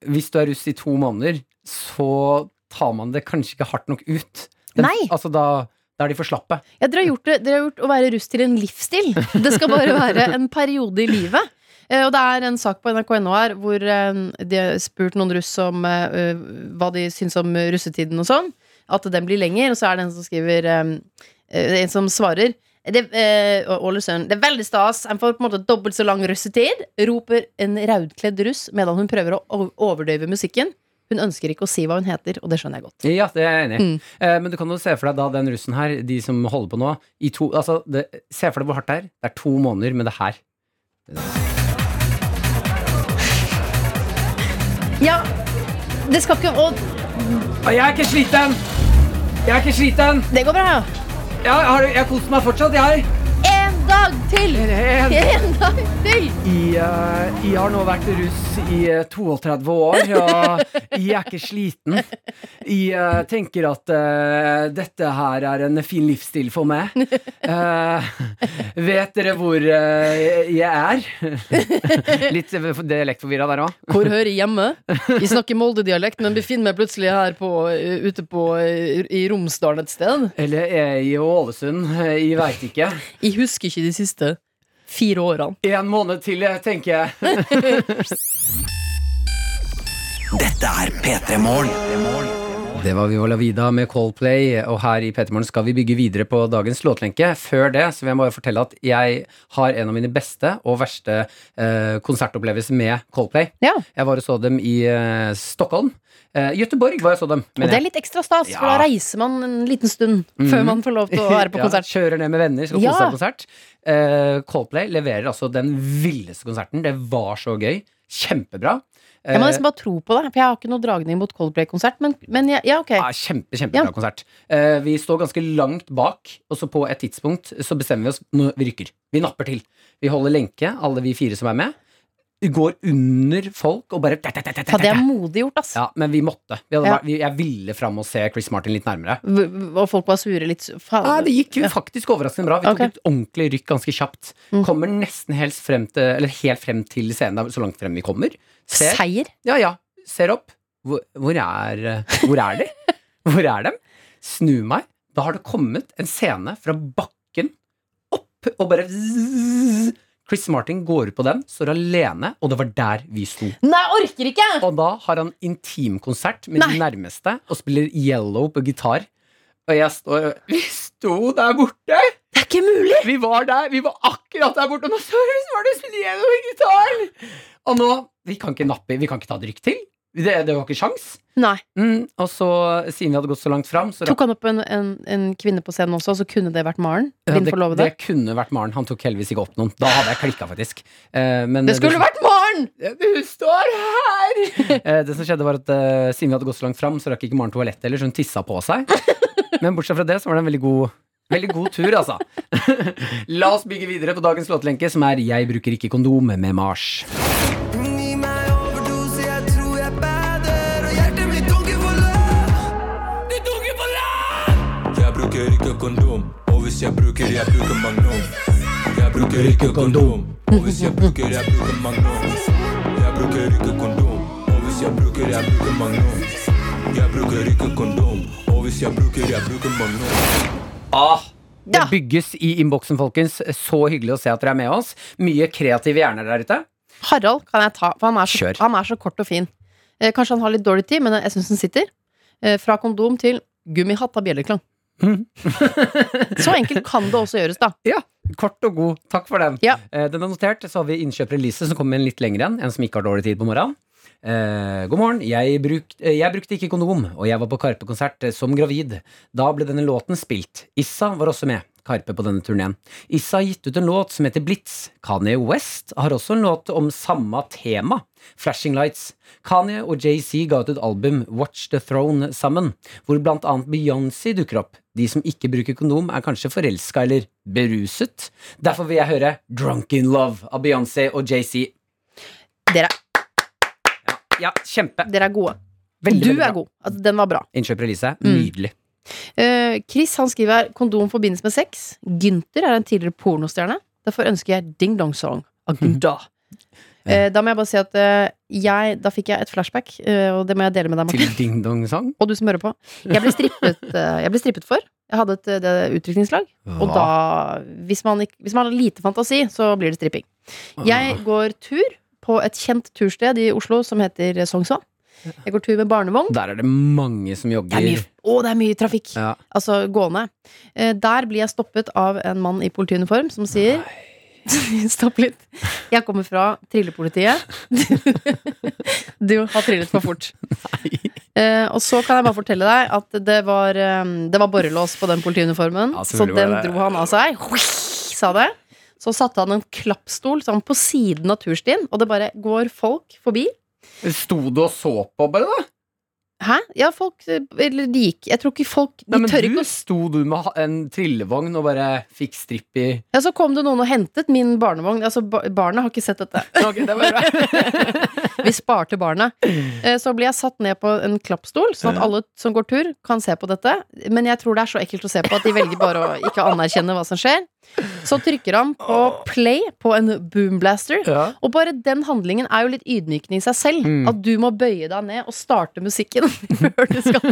hvis du er russ i to måneder, så tar man det kanskje ikke hardt nok ut. Den- Nei. Altså da, da er de for slappe. Ja, dere har gjort, det, dere har gjort å være russ til en livsstil. Det skal bare være en periode i livet. Eh, Og det er en sak på nrk.no her hvor eh, de har spurt noen russ om eh, eh, hva de syns om russetiden og sånn. At den blir lenger. Og så er det en som skriver eh, eh, En som svarer. Det, eh, Ålesund. Det er veldig stas. En får på en måte dobbelt så lang russetid. Roper en raudkledd russ medan hun prøver å o- overdøyve musikken. Hun ønsker ikke å si hva hun heter, og det skjønner jeg godt. Ja, det er jeg enig i. Mm. Eh, men du kan jo se for deg da den russen her, de som holder på nå i to, altså, det, Se for deg hvor hardt det er. Det er to måneder med det her. Ja, det skal ikke Og Og jeg er ikke sliten! Jeg er ikke sliten! det går bra, ja. Jeg har, jeg har kost meg fortsatt, jeg. En dag til! En- En dag til! Jeg, eh, jeg har nå vært russ i eh, 32 år, og jeg er ikke sliten. Jeg eh, tenker at eh, dette her er en fin livsstil for meg. Eh, vet dere hvor eh, jeg er? Litt eh, dialektforvirra der òg. Hvor hører jeg hjemme? Jeg snakker Molde-dialekt, men befinner meg plutselig her på, eh, ute på, i Romsdalen et sted. Eller er jeg i Ålesund? Eh, Jeg veit ikke. Jeg husker ikke de siste fire årene. En måned til, eh, tenker jeg. Dette er P3 Morgen. Det var Viola Vida med Coldplay, og her i P3morgen skal vi bygge videre på dagens låtlenke. Før det så vil jeg bare fortelle at jeg har en av mine beste og verste eh, konsertopplevelser med Coldplay. Ja, Jeg var og så dem i eh, Stockholm. Eh, Göteborg var jeg så dem. og det er litt ekstra stas, for da Ja. reiser man en liten stund før man får lov til å være på konsert. Ja, kjører ned med venner, skal Ja. kose seg på konsert. Eh, Coldplay leverer altså den villeste konserten. Det var så gøy. Kjempebra. Jeg må Eh, nesten bare tro på det, for jeg har ikke noe dragning mot Coldplay-konsert, men, men ja, ja, ok. Ja, kjempe, kjempebra Ja. konsert. Eh, vi står ganske langt bak, og så på et tidspunkt så bestemmer vi oss Nå, vi rykker. Vi napper til. Vi holder lenke, alle vi fire som er med. Vi går under folk og bare Faen, det er modig gjort, ass. Ja, men vi måtte. Vi hadde, Ja. vært- vi, jeg ville fram og se Chris Martin litt nærmere. V- v- Og folk var sure litt. Faen. Ja, det gikk jo faktisk overraskende bra. Vi tok Ok. et ordentlig rykk ganske kjapt. Kommer nesten helt frem til, eller helt frem til scenen, da, så langt frem vi kommer. Ser, Seier. ja, ja, ser opp. Hvor, hvor, er, eh, hvor er de? Hvor er dem? Snu meg. Da har det kommet en scene fra bakken opp, og bare zzzz. Chris Martin går ut på den, står alene, og det var der vi sto. Nei, jeg orker ikke! Og da har han intimkonsert med de nærmeste, og spiller Yellow på gitar. Og jeg står Vi sto der borte! Det er ikke mulig! Vi var der, vi var akkurat der borte, og nå sorry, så var det Spinello i gitar! Og nå Vi kan ikke nappe, vi kan ikke ta drikk til. Det, det var ikke sjans. Nei. Mm, og så, siden vi hadde gått så langt fram så Tok han opp en, en, en kvinne på scenen også, så kunne det vært Maren? Ja, Din det, forlovede? det kunne vært Maren. Han tok heldigvis ikke opp noen. Da hadde jeg klikka, faktisk. Eh, men Det, skulle vært Maren! Du står her! Eh, det som skjedde var at eh, Siden vi hadde gått så langt fram, så rakk ikke Maren toalettet heller, så hun tissa på seg. Men bortsett fra det, så var det en veldig god Veldig god tur, altså. La oss bygge videre på dagens låtlenke, som er 'Jeg bruker ikke kondom' med Mars. Jeg bruker ikke kondom, og hvis jeg bruker, jeg bruker magnum. Jeg bruker ikke kondom, og hvis jeg bruker, jeg bruker magnum. Jeg bruker ikke kondom, og hvis jeg bruker, jeg bruker magnum. Jeg bruker ikke kondom, og hvis jeg bruker, jeg bruker magnum. Det Ja. bygges i innboksen, folkens. Så hyggelig å se at dere er med oss. Mye kreative hjerner der ute. Harald kan jeg ta, for han er så, Kjør. han er så kort og fin. Eh, kanskje han har litt dårlig tid, men jeg syns han sitter. Eh, fra kondom til gummihatt av bjelleklang. Mm. så enkelt kan det også gjøres, da. Ja, kort og god. Takk for den. Ja. Eh, den er notert. Så har vi innkjøper Elise, som kommer med en litt lengre en. En som ikke har dårlig tid på morgenen. Eh, god morgen. Jeg, bruk, eh, jeg brukte ikke kondom, og jeg var på Karpe-konsert eh, som gravid. Da ble denne låten spilt. Issa var også med. Karpe på denne turneen. Issa har gitt ut en låt som heter Blitz. Kanye West har også en låt om samme tema, Flashing Lights. Kanye og JC ga ut et album, Watch the Throne, sammen, hvor blant annet Beyoncé dukker opp. De som ikke bruker kondom, er kanskje forelska eller beruset. Derfor vil jeg høre Drunk in Love av Beyoncé og JC. Dere, Ja, kjempe. dere er gode. Veldig, du veldig bra. er god. Altså, den var bra. Innkjøper Elise. Mm. Nydelig. Eh, Chris han skriver her kondom forbindes med sex. Gynter er en tidligere pornostjerne. Derfor ønsker jeg Ding Dong Song av Gunda. Eh, Da må jeg bare si at eh, jeg, da fikk jeg et flashback, eh, og det må jeg dele med deg, Martin. Til Ding Dong-sang? Og du som hører på. Jeg ble strippet, eh, jeg ble strippet for. Jeg hadde et eh, det, utrykningslag. Og da, hvis man, ikk- hvis man har lite fantasi, så blir det stripping. Jeg går tur på et kjent tursted i Oslo som heter Sognsvann. Jeg går tur med barnevogn. Der er det mange som Det er mye, jogger. å, det er mye trafikk. Ja. Altså gående. Eh, Der blir jeg stoppet av en mann i politiuniform som sier Stopp litt. Jeg kommer fra trillepolitiet. Du har trillet for fort. Eh, og så kan jeg bare fortelle deg at det var, eh, det var borrelås på den politiuniformen. Ja, så selvfølgelig var den det. dro han av seg. Sa det. Så satte han en klappstol sånn på siden av turstien, og det bare går folk forbi. Sto du og så på, bare, da? Hæ? Ja, folk eh, Eller de gikk Jeg tror ikke folk De Nei, men tør ikke du å sto du med ha- en trillevogn og bare fikk stripp i Ja, så kom det noen og hentet min barnevogn. Altså, ba barnet har ikke sett dette. Ok, det var bra. Vi sparte barnet. Eh, Så blir jeg satt ned på en klappstol, sånn at alle som går tur, kan se på dette. Men jeg tror det er så ekkelt å se på at de velger bare å ikke anerkjenne hva som skjer. Så trykker han på play på en boomblaster. Ja. Og bare den handlingen er jo litt ydmykende i seg selv. Mm. At du må bøye deg ned og starte musikken før du skal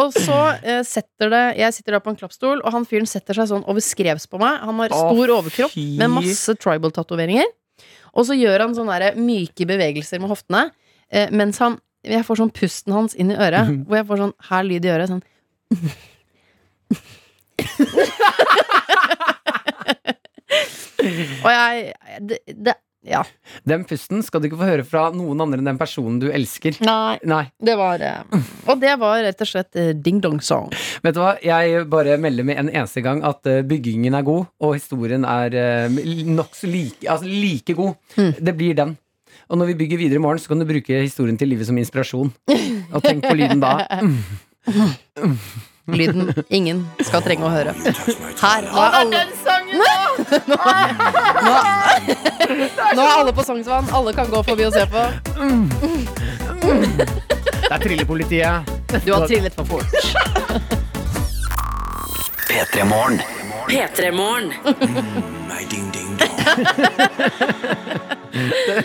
Og så eh, setter det Jeg sitter da på en klappstol, og han fyren setter seg sånn overskrevs på meg. Han har Å, stor overkropp fy. med masse tribal-tatoveringer. Og så gjør han sånne der myke bevegelser med hoftene, eh, mens han Jeg får sånn pusten hans inn i øret, Mhm. hvor jeg får sånn her lyd i øret. Sånn Og jeg det, det, Ja. Den pusten skal du ikke få høre fra noen andre enn den personen du elsker. Nei. Nei, Det var eh, Og det var rett og slett eh, Ding Dong Song. vet du hva? Jeg bare melder med en eneste gang at eh, byggingen er god, og historien er eh, nokså like, altså like god. Hmm. Det blir den. Og når vi bygger videre i morgen, så kan du bruke historien til livet som inspirasjon. Og tenk på lyden da. Lyden ingen skal trenge å høre. Her har alle Nå er alle på Sognsvann. Alle kan gå forbi og se på. Det er trillepolitiet. Du har trillet for fort. P3 Morgen. P3-morgen. My ding ding dong.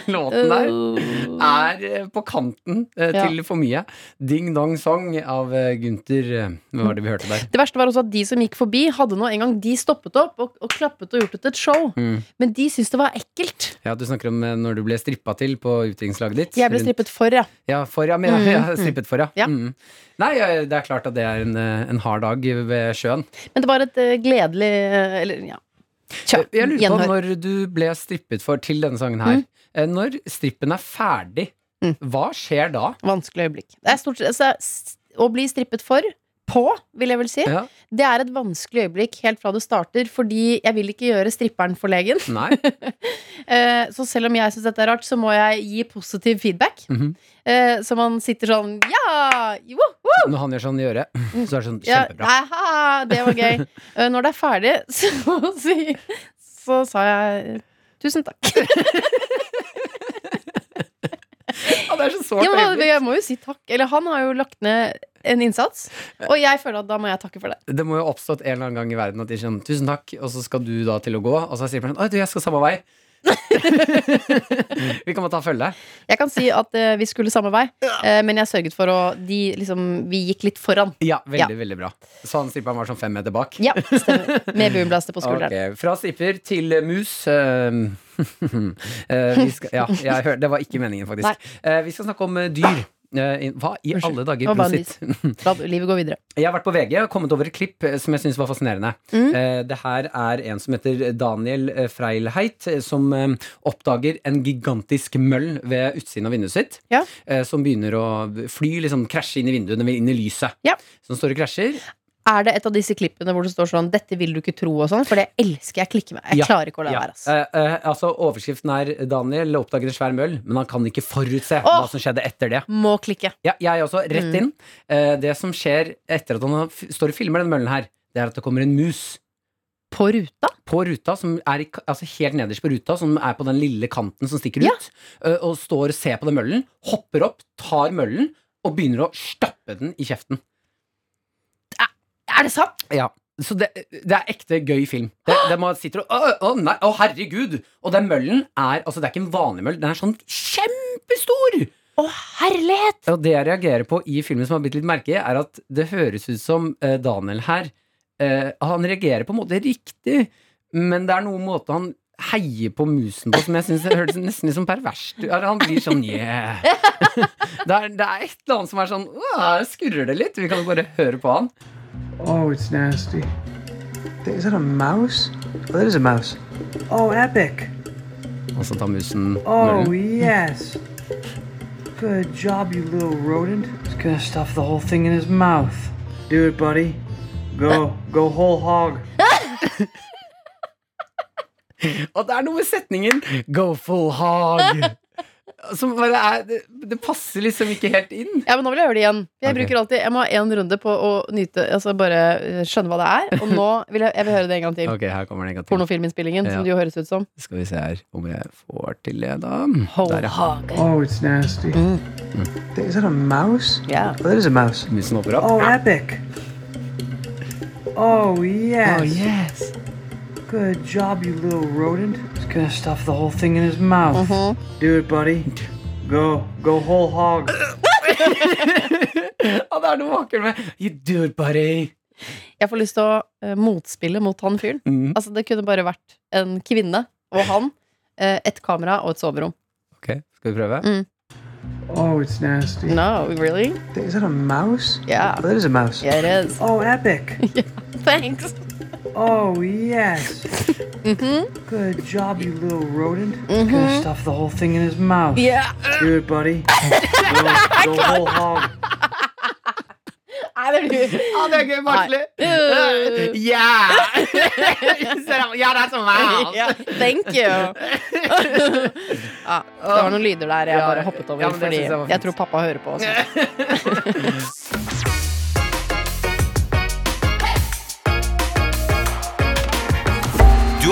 Låten der er eh, på kanten eh, Ja. til for mye. Ding Dong Song av eh, Gunther eh, Hva var det vi hørte der? Det verste var også at de som gikk forbi, hadde nå en gang de stoppet opp og, og klappet og gjort det til et show. Mm. Men de syntes det var ekkelt. Ja, Du snakker om eh, når du ble strippa til på utdrikningslaget ditt. Jeg ble Rundt- strippet for, ja. Ja, for, ja, men, ja, ja, strippet for, ja. Ja. Mm. Nei, ja, det er klart at det er en, eh, en hard dag ved sjøen. Men det var et eh, gledelig eh, Eller, ja. Tja, Jeg lurer på gjenhør. når du ble strippet for til denne sangen her. Eh, Når strippen er ferdig, Mm. hva skjer da? Vanskelig øyeblikk. Det er stort sett altså, s- Å bli strippet for, på, vil jeg vel si, Ja. det er et vanskelig øyeblikk helt fra det starter, fordi jeg vil ikke gjøre stripperen forlegen. Nei? Eh, Så selv om jeg syns dette er rart, så må jeg gi positiv feedback. Mhm. Eh, Så man sitter sånn Ja! Woho! Når han gjør sånn i øret, så er det sånn Mm. Ja, kjempebra. nei, haha, det var gøy. Eh, Når det er ferdig, så, si- så sa jeg tusen takk. Ja, det er så sårt. Ja, men øyeblikk. jeg må jo si takk. Eller han har jo lagt ned en innsats, og jeg føler at da må jeg takke for det. Det må jo ha oppstått en eller annen gang i verden at de sier sånn, tusen takk, og så skal du da til å gå, og så sier man sånn, oi du, jeg skal samme vei. Vi kan bare ta følge. Jeg kan si at eh, vi skulle samme vei, eh, men jeg sørget for å de, liksom, Vi gikk litt foran. Ja, Ja. veldig, veldig bra. Så han stripperen var sånn fem meter bak. Ja, stemmer. Med boomblaster på skulderen. Ok, Fra stripper til eh, mus. eh, eh, vi skal, ja, jeg hør, det var ikke meningen, faktisk. Eh, vi skal snakke om eh, dyr. Eh, i- hva i alle dager? Ah. Det var bare en Prosit. La livet gå videre. Jeg har vært på VG og kommet over et klipp eh, som jeg syns var fascinerende. Mm. Eh, det her er en som heter Daniel eh, Freilheit, eh, som eh, oppdager en gigantisk møll ved utsiden av vinduet sitt. Ja. eh, som begynner å fly, liksom krasje inn i vinduet, den vil inn i lyset. Ja. Som står og krasjer. Er det et av disse klippene hvor det står sånn 'Dette vil du ikke tro' og sånn? For det elsker jeg. klikker meg. Jeg Ja, klarer ikke å la Ja. være. ass. Eh, eh, altså, overskriften er 'Daniel oppdager en svær møll', men han kan ikke forutse hva Åh! Mm. som skjedde etter det. Må klikke. Ja, jeg også, rett inn. Eh, det som skjer etter at han har f står og filmer denne møllen her, det er at det kommer en mus På ruta? på ruta, som er i, ka- altså helt nederst på ruta, som er på den lille kanten som stikker Ja. ut, eh, og står og ser på den møllen, hopper opp, tar møllen, og begynner å stappe den i kjeften. Er det sant? Ja. Så det, det er ekte gøy film. Det, det man sitter og Å, å, nei, å, herregud! Og den møllen er Altså, det er ikke en vanlig møll, den er sånn kjempestor! Å, herlighet! Og det jeg reagerer på i filmen som har blitt litt merke, er at det høres ut som eh, Daniel her eh, Han reagerer på en måte riktig, men det er noen måte han heier på musen på som jeg syns høres nesten litt sånn perverst ut. Han blir sånn yeah. det, er, det er et eller annet som er sånn «Åh, her skurrer det litt. Vi kan jo bare høre på han. Oh, it's nasty. Is that a mouse? Oh, that is a mouse. Oh, epic. Og så tar musen Oh, møllen. yes. Good job, you little rodent. He's gonna stuff the whole thing in his mouth. Do it, buddy. Go, go whole hog. Og det er noe med setningen 'go full hog' som bare er det, det passer liksom ikke helt inn. Ja, men nå vil jeg gjøre det igjen. Jeg Ok. bruker alltid, jeg må ha én runde på å nyte Altså bare eh, skjønne hva det er. Og nå vil jeg, jeg vil høre det en gang til. Ok, her kommer den en gang til. Pornofilminnspillingen, Ja. som det jo høres ut som. Skal vi se her om jeg får til det, da. Der, ja. Oh, it's nasty. Is that a mouse? Yeah. Oh, that is a mouse. Musen hopper opp. Oh, epic. Oh, yes. yes. Good job, you little rodent. He's gonna stuff the whole thing in his mouth. Mm-hmm. Do it, buddy. Go, go whole hog. Ja, det er noe vakkert med You do it, buddy. Jeg får lyst til å eh, motspille mot han fyren. Mm. Altså, det kunne bare vært en kvinne og han. eh, Et kamera og et soverom. Ok, skal vi prøve? Oh, it's nasty. No, really? Is that a mouse? Yeah. Oh, that is a mouse. Yeah, it is. Oh, epic. Thanks. Oh, yes. Mm-hmm. Good job, you little rodent. He's gonna stuff the whole thing in his mouth. Yeah. Do it, buddy. Go, go whole hog. Nei, det blir Ja, det er gøy, Martle. Uh. Yeah! ja, det er som meg. Ja, Thank you! ja, det var noen lyder der jeg Ja, bare hoppet over, ja, men det fordi synes jeg var jeg, fint. tror pappa hører på. Også. Du